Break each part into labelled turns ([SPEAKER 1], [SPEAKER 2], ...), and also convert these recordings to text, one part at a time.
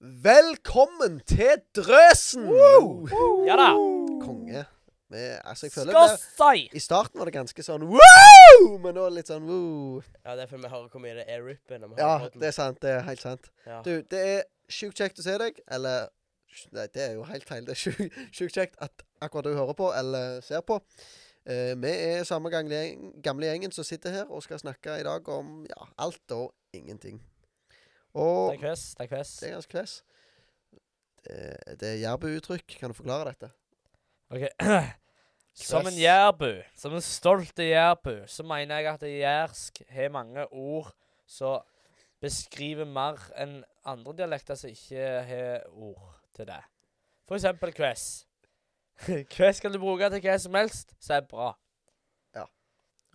[SPEAKER 1] Velkommen til Drøsen!
[SPEAKER 2] Ja da.
[SPEAKER 1] Konge. Vi, altså, jeg føler det,
[SPEAKER 2] Skassai!
[SPEAKER 1] I starten var det ganske sånn wow! Men nå er det litt sånn wow.
[SPEAKER 2] Ja, det er fordi vi hører hvor mye det er rippen.
[SPEAKER 1] Ja, det er sant. Det er helt sant.
[SPEAKER 2] Ja.
[SPEAKER 1] Du, det er sjukt kjekt å se deg. Eller Nei, det er jo helt feil. Det er sjukt sjukt kjekt at akkurat du hører på eller ser på. Eh, vi er samme gamle, gjeng, gamle gjengen som sitter her og skal snakke i dag om ja, alt og ingenting. Og
[SPEAKER 2] Takk fess, takk fess.
[SPEAKER 1] Det er ganske klass. Det, det er jærbuuttrykk. Kan du forklare dette?
[SPEAKER 2] Ok. Som en
[SPEAKER 1] Kvess.
[SPEAKER 2] jærbu, som en stolt jærbu, så mener jeg at jærsk har mange ord som beskriver mer enn andre dialekter som ikke har ord til det. For eksempel kvess. kvess kan du bruke til hva som helst, så er det bra.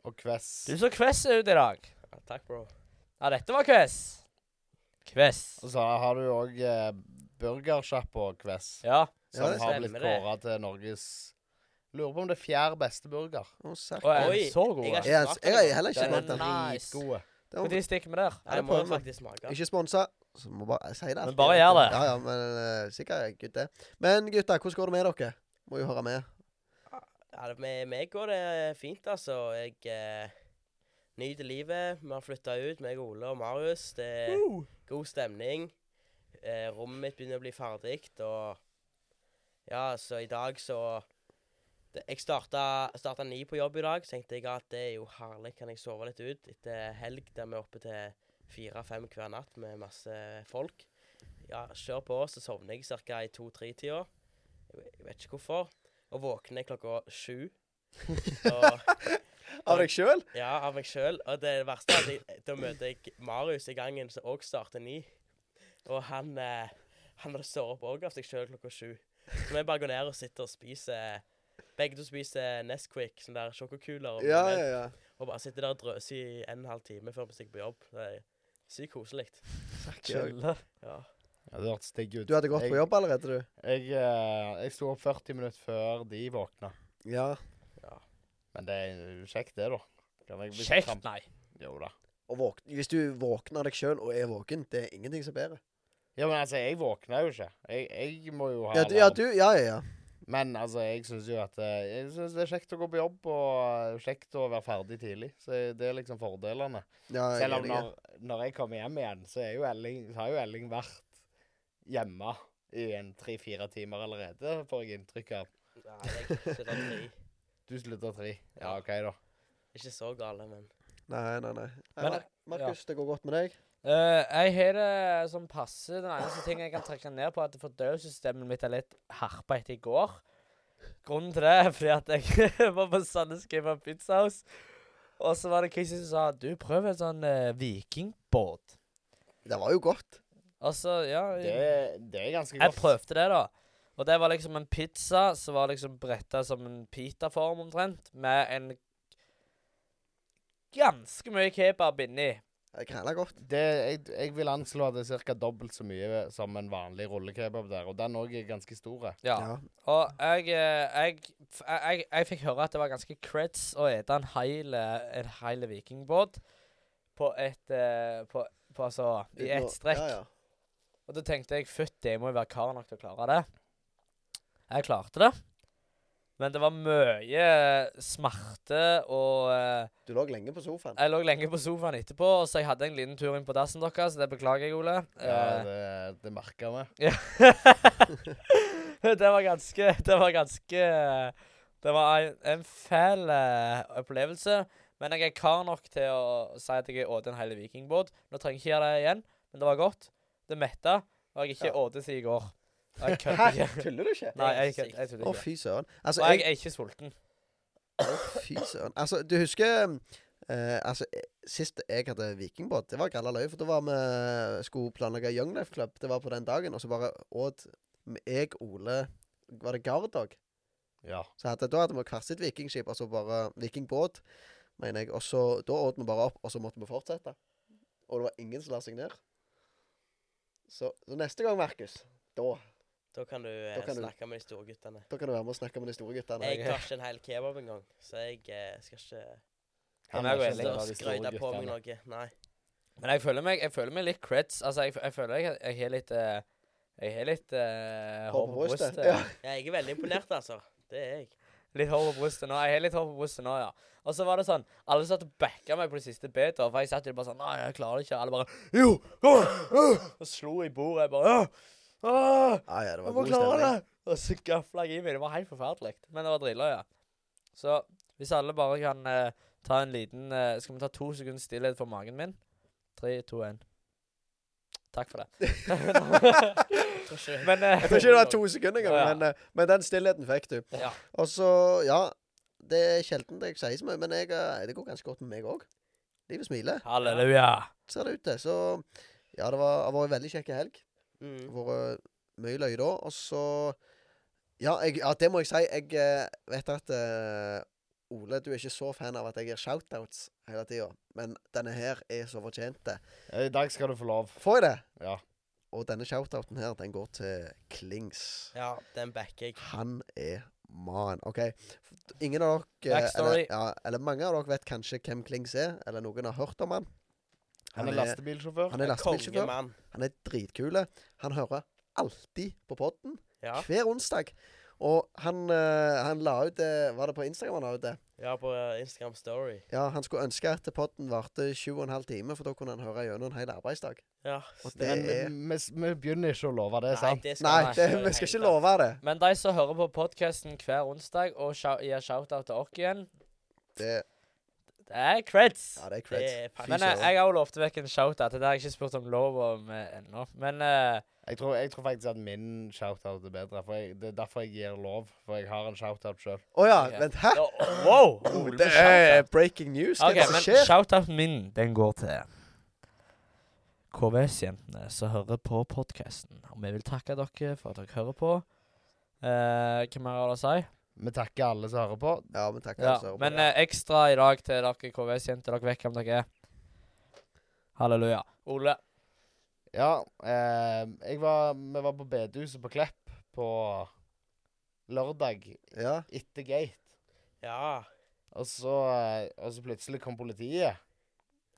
[SPEAKER 3] Og kvess.
[SPEAKER 2] Du så kvess ut i dag. takk, bro. Ja, dette var kvess. Kvess.
[SPEAKER 3] Og så har du òg eh, burgersjappa Kvess,
[SPEAKER 2] Ja.
[SPEAKER 3] som
[SPEAKER 1] det
[SPEAKER 3] har
[SPEAKER 2] stemmer
[SPEAKER 3] blitt
[SPEAKER 2] det.
[SPEAKER 3] kåra til Norges Lurer på om det er fjerde beste burger.
[SPEAKER 1] Å,
[SPEAKER 2] Og er
[SPEAKER 1] sakkes.
[SPEAKER 2] den
[SPEAKER 4] Oi,
[SPEAKER 2] så god?
[SPEAKER 4] jeg
[SPEAKER 2] da?
[SPEAKER 4] har ikke-
[SPEAKER 1] Jeg har- jeg har heller ikke
[SPEAKER 2] Den er
[SPEAKER 1] smakt den.
[SPEAKER 2] nice.
[SPEAKER 3] Gode.
[SPEAKER 1] Det
[SPEAKER 2] Hvor
[SPEAKER 1] var-
[SPEAKER 2] de stikker vi der?
[SPEAKER 1] Ja, det
[SPEAKER 4] Nei, det må
[SPEAKER 1] prøver
[SPEAKER 4] jeg
[SPEAKER 1] vi.
[SPEAKER 4] faktisk smake.
[SPEAKER 1] Ikke sponsa, så må bare si det.
[SPEAKER 2] Men bare gjør det.
[SPEAKER 1] Ja, ja, men eh, sikkert gutt det. Men gutta, hvordan går det med dere? Må jo høre med.
[SPEAKER 4] Ja, det, med Eh, meg går det fint, altså. Jeg eh, nyter livet. Vi har flytta ut, meg, Ole og Marius. Det er god stemning. Eh, rommet mitt begynner å bli ferdig, og Ja, så i dag så det, Jeg starta, starta ni på jobb i dag. Så tenkte jeg at det er jo herlig, kan jeg sove litt ut etter helg der vi er oppe til fire-fem hver natt med masse folk. Ja, kjør på, så sovner jeg ca. i to-tre-tida. Jeg ve- jeg vet ikke hvorfor. Og våkner klokka sju. Og
[SPEAKER 1] Av deg sjøl?
[SPEAKER 4] ja, av meg sjøl. Og det verste er at jeg, da møter jeg Marius i gangen, som òg starter ni. Og han eh, han hadde såret opp òg av seg sjøl klokka sju. Så vi bare går ned og sitter og spiser Begge to spiser Nesquik, sånne der sjokokuler, og,
[SPEAKER 1] Ja,
[SPEAKER 4] med-
[SPEAKER 1] ja, ja.
[SPEAKER 4] og bare sitter der og drøser i en og en halv time før vi stikker på jobb. Det er sykt koselig.
[SPEAKER 2] Chiller.
[SPEAKER 4] Ja.
[SPEAKER 3] Ja, det hørtes digg ut.
[SPEAKER 1] Du hadde gått på jobb allerede, du?
[SPEAKER 3] Jeg, eh, jeg sto opp 40 minutter før de våkna.
[SPEAKER 1] Ja.
[SPEAKER 3] Men det er jo kjekt, det, da. Kan jeg bli
[SPEAKER 2] Kjekt,
[SPEAKER 3] kramp-
[SPEAKER 2] nei.
[SPEAKER 3] Jo da.
[SPEAKER 1] Og våk Hvis du våkner av deg sjøl og er våken, det er ingenting som er bedre.
[SPEAKER 3] Ja, men altså, jeg våkna jo ikke. Jeg, jeg må jo ha
[SPEAKER 1] Ja, du, ja, du, ja, ja, ja.
[SPEAKER 3] Men altså, jeg syns jo at eh, Jeg synes det er kjekt å gå på jobb, og kjekt å være ferdig tidlig. Så det er liksom fordelene.
[SPEAKER 1] ja jeg er
[SPEAKER 3] Selv om
[SPEAKER 1] enig.
[SPEAKER 3] når, når jeg kommer hjem igjen, så er jo Elling, så har jo Elling vært hjemme i en tre-fire timer allerede, får jeg inntrykk av.
[SPEAKER 4] Nei, jeg sitter tre.
[SPEAKER 3] Du slutter tre. Ja,
[SPEAKER 4] Ja.
[SPEAKER 3] OK, da.
[SPEAKER 4] Ikke så gale, men
[SPEAKER 1] Nei, nei, nei.
[SPEAKER 2] Men-
[SPEAKER 1] Mar- Markus, det går godt med deg?
[SPEAKER 2] Eh, jeg har det som passer. Den eneste ting jeg kan trekke ned på, er at fordøyelsessystemet mitt er litt harpa etter i går. Grunnen til det er fordi at jeg var på Sandnes Game of Pizza House, og så var det Kristian som sa du prøv en sånn eh, vikingbåt.
[SPEAKER 1] Det var jo godt.
[SPEAKER 2] Og så, ja
[SPEAKER 3] Det, det er ganske
[SPEAKER 2] Jeg
[SPEAKER 3] godt.
[SPEAKER 2] prøvde det, da. Og det var liksom en pizza som var liksom bretta som en pitaform omtrent, med en ganske mye kebab inni.
[SPEAKER 1] Det krangla godt.
[SPEAKER 3] Det, jeg, jeg vil anslå at det er ca. dobbelt så mye som en vanlig rullekebab der, og den òg er ganske stor.
[SPEAKER 2] Ja.
[SPEAKER 1] Ja.
[SPEAKER 2] Og jeg, eh, jeg, f- jeg, jeg, jeg fikk høre at det var ganske creds å ete en heil, eh, en heil vikingbåt på et eh, på, på altså, I
[SPEAKER 1] Uten å-
[SPEAKER 2] ett strekk.
[SPEAKER 1] Ja, ja.
[SPEAKER 2] Og da tenkte jeg fytt, det må jo være kar nok til å klare det. Jeg klarte det. Men det var mye smerte og eh,
[SPEAKER 1] Du lå lenge på sofaen.
[SPEAKER 2] Jeg lå lenge på sofaen etterpå, så jeg hadde en liten tur inn på dassen deres. så Det beklager jeg, Ole.
[SPEAKER 3] Ja,
[SPEAKER 2] Eh,
[SPEAKER 3] det, det merker vi.
[SPEAKER 2] det var ganske Det var ganske Det var en, en fæl eh, opplevelse. Men jeg er kar nok til å si at jeg har spist en hel vikingbåt. Nå trenger jeg ikke gjøre det igjen, men det var godt. Det metta. Og jeg har ikke
[SPEAKER 1] Ja.
[SPEAKER 2] spist siden i går. Og
[SPEAKER 1] Hæ?
[SPEAKER 2] jeg kødder ikke.
[SPEAKER 1] Tuller du ikke?
[SPEAKER 2] Nei, jeg, kødder- jeg
[SPEAKER 1] Å,
[SPEAKER 2] trodde ikke.
[SPEAKER 1] fy søren. Altså,
[SPEAKER 2] Og jeg
[SPEAKER 1] jeg,
[SPEAKER 2] er ikke sulten.
[SPEAKER 1] å, fy søren. Altså, du husker eh, altså, eh, Sist jeg hadde vikingbåt, det var galla løye. For da var vi skulle planlegge Young Life Club. Det var på den dagen. Og så bare åt jeg, Ole Var det Gardog?
[SPEAKER 3] Ja.
[SPEAKER 1] Så hadde, da hadde vi hvert sitt vikingskip, altså bare vikingbåt, mener jeg. Og så da åt vi bare opp, og så måtte vi fortsette. Og det var ingen som la seg ned. Så, så neste gang, Markus, da,
[SPEAKER 4] da kan du eh,
[SPEAKER 1] Da kan du-
[SPEAKER 4] snakke med de store guttene.
[SPEAKER 1] da kan du være med og snakke med de store guttene.
[SPEAKER 4] Jeg
[SPEAKER 2] jeg-
[SPEAKER 4] klarer ikke en hel kebab engang, så jeg eh, skal ikke
[SPEAKER 2] Han er jo
[SPEAKER 3] ikke
[SPEAKER 2] enig.
[SPEAKER 3] en av de store
[SPEAKER 4] skryte på meg
[SPEAKER 3] guttene.
[SPEAKER 4] noe. Nei.
[SPEAKER 2] Men jeg føler meg, jeg føler meg litt creds. Altså, jeg, f- jeg føler jeg, jeg har litt eh, Jeg har litt eh,
[SPEAKER 1] Hår
[SPEAKER 2] hår
[SPEAKER 1] på
[SPEAKER 2] på
[SPEAKER 1] brystet.
[SPEAKER 2] brystet.
[SPEAKER 1] Ja.
[SPEAKER 4] Ja, jeg er veldig imponert, altså. Det er jeg.
[SPEAKER 2] Litt hår på brystet nå. Jeg har litt hår på brystet nå, ja. Og så var det sånn Alle satt og backa meg på det siste betet, for jeg satt jo bare sånn Nei, jeg klarer det ikke. Alle bare Jo! Kom igjen! øh!» Og slo i bordet. Jeg bare «Åh! Åh!
[SPEAKER 1] Ah, Ja, ja, det var
[SPEAKER 2] Jeg må
[SPEAKER 1] god
[SPEAKER 2] klare det!
[SPEAKER 1] stemning.
[SPEAKER 2] Og så gafla jeg i meg. Det var helt forferdelig. Men det var drilla, ja. Så hvis alle bare kan eh, ta en liten eh, Skal vi ta to sekunder stillhet for magen min? Tre, to, én. Takk for det.
[SPEAKER 4] Tror ikke
[SPEAKER 2] Men eh,
[SPEAKER 1] Jeg tror ikke det var to sekunder engang,
[SPEAKER 2] Ja.
[SPEAKER 1] men, eh, men den stillheten fikk du.
[SPEAKER 2] Ja.
[SPEAKER 1] Og så, ja Det er sjelden jeg sier så mye, men jeg, eh, det går ganske godt med meg òg. Livet smiler,
[SPEAKER 2] Halleluja.
[SPEAKER 1] ser det ut til. Så ja, det var, det var en veldig kjekk helg.
[SPEAKER 4] Mm.
[SPEAKER 1] vært mye løye da. Og så ja, jeg, ja, det må jeg si. Jeg eh, vet at eh, Ole, du er ikke så fan av at jeg gir shoutouts hele tida, men denne her er så fortjent. det.
[SPEAKER 3] Eh, I dag skal du få lov.
[SPEAKER 1] Får jeg det?
[SPEAKER 3] Ja.
[SPEAKER 1] Og denne shoutouten her, den går til Klings.
[SPEAKER 4] Ja, den backer jeg.
[SPEAKER 1] Han er man. OK. Ingen av dere eh, eller,
[SPEAKER 2] Backstory.
[SPEAKER 1] ja, eller mange av dere vet kanskje hvem Klings er, eller noen har hørt om han.
[SPEAKER 3] Han er lastebilsjåfør.
[SPEAKER 1] han er lastebilsjåfør.
[SPEAKER 4] Kongemann.
[SPEAKER 1] Han er dritkule. Han hører alltid på podden.
[SPEAKER 4] Ja.
[SPEAKER 1] hver onsdag. Og han, eh, han la ut det Var det på Instagram han la ut det?
[SPEAKER 4] ja, på eh, Instagram Story.
[SPEAKER 1] Ja, han skulle ønske at podden varte sju og en halv time, for da kunne han høre gjennom en hel arbeidsdag.
[SPEAKER 4] Ja.
[SPEAKER 1] Og det
[SPEAKER 3] Men
[SPEAKER 1] er
[SPEAKER 3] vi, vi begynner ikke å love det, sant?
[SPEAKER 4] det
[SPEAKER 1] Nei,
[SPEAKER 4] man
[SPEAKER 1] det,
[SPEAKER 4] gjøre i
[SPEAKER 1] vi
[SPEAKER 4] hele
[SPEAKER 1] skal ikke
[SPEAKER 4] tatt.
[SPEAKER 1] love det.
[SPEAKER 2] Men de som hører på podkasten hver onsdag og shou- gir shout-out til oss igjen,
[SPEAKER 1] det.
[SPEAKER 2] det er creds.
[SPEAKER 1] Ja, det er
[SPEAKER 4] Det
[SPEAKER 1] cred.
[SPEAKER 4] er pakke.
[SPEAKER 2] Men eh,
[SPEAKER 1] søren.
[SPEAKER 2] jeg har jo lovt vekk en shout-out. Det har jeg ikke spurt om lov om eh, ennå. Men eh,
[SPEAKER 3] Jeg tror, jeg tror faktisk at min shoutout er bedre. For jeg, det er derfor jeg gir lov. For jeg har en shoutout sjøl.
[SPEAKER 1] Å ja,
[SPEAKER 2] ok.
[SPEAKER 1] vent, hæ?
[SPEAKER 2] da- Wow! Ole
[SPEAKER 1] Det
[SPEAKER 2] med
[SPEAKER 1] er
[SPEAKER 2] shout-out.
[SPEAKER 1] breaking news. Hva er
[SPEAKER 2] OK,
[SPEAKER 1] det som
[SPEAKER 2] men
[SPEAKER 1] skjer?
[SPEAKER 2] shout-outen min, den går til KVS-jentene som hører på podkasten. Og vi vil takke dere for at dere hører på. Eh, hva mer har det å si?
[SPEAKER 3] Vi takker alle som hører på.
[SPEAKER 1] Ja, men takk,
[SPEAKER 2] Ja,
[SPEAKER 1] altså.
[SPEAKER 2] men eh, ekstra i dag til dere KVS-jenter. Dere vet hvem dere er. Halleluja. Ole.
[SPEAKER 3] Ja, eh, jeg var, vi var på bedehuset på Klepp på lørdag
[SPEAKER 1] Ja.
[SPEAKER 3] etter gate.
[SPEAKER 4] Ja.
[SPEAKER 3] Og så, eh, og så plutselig kom politiet.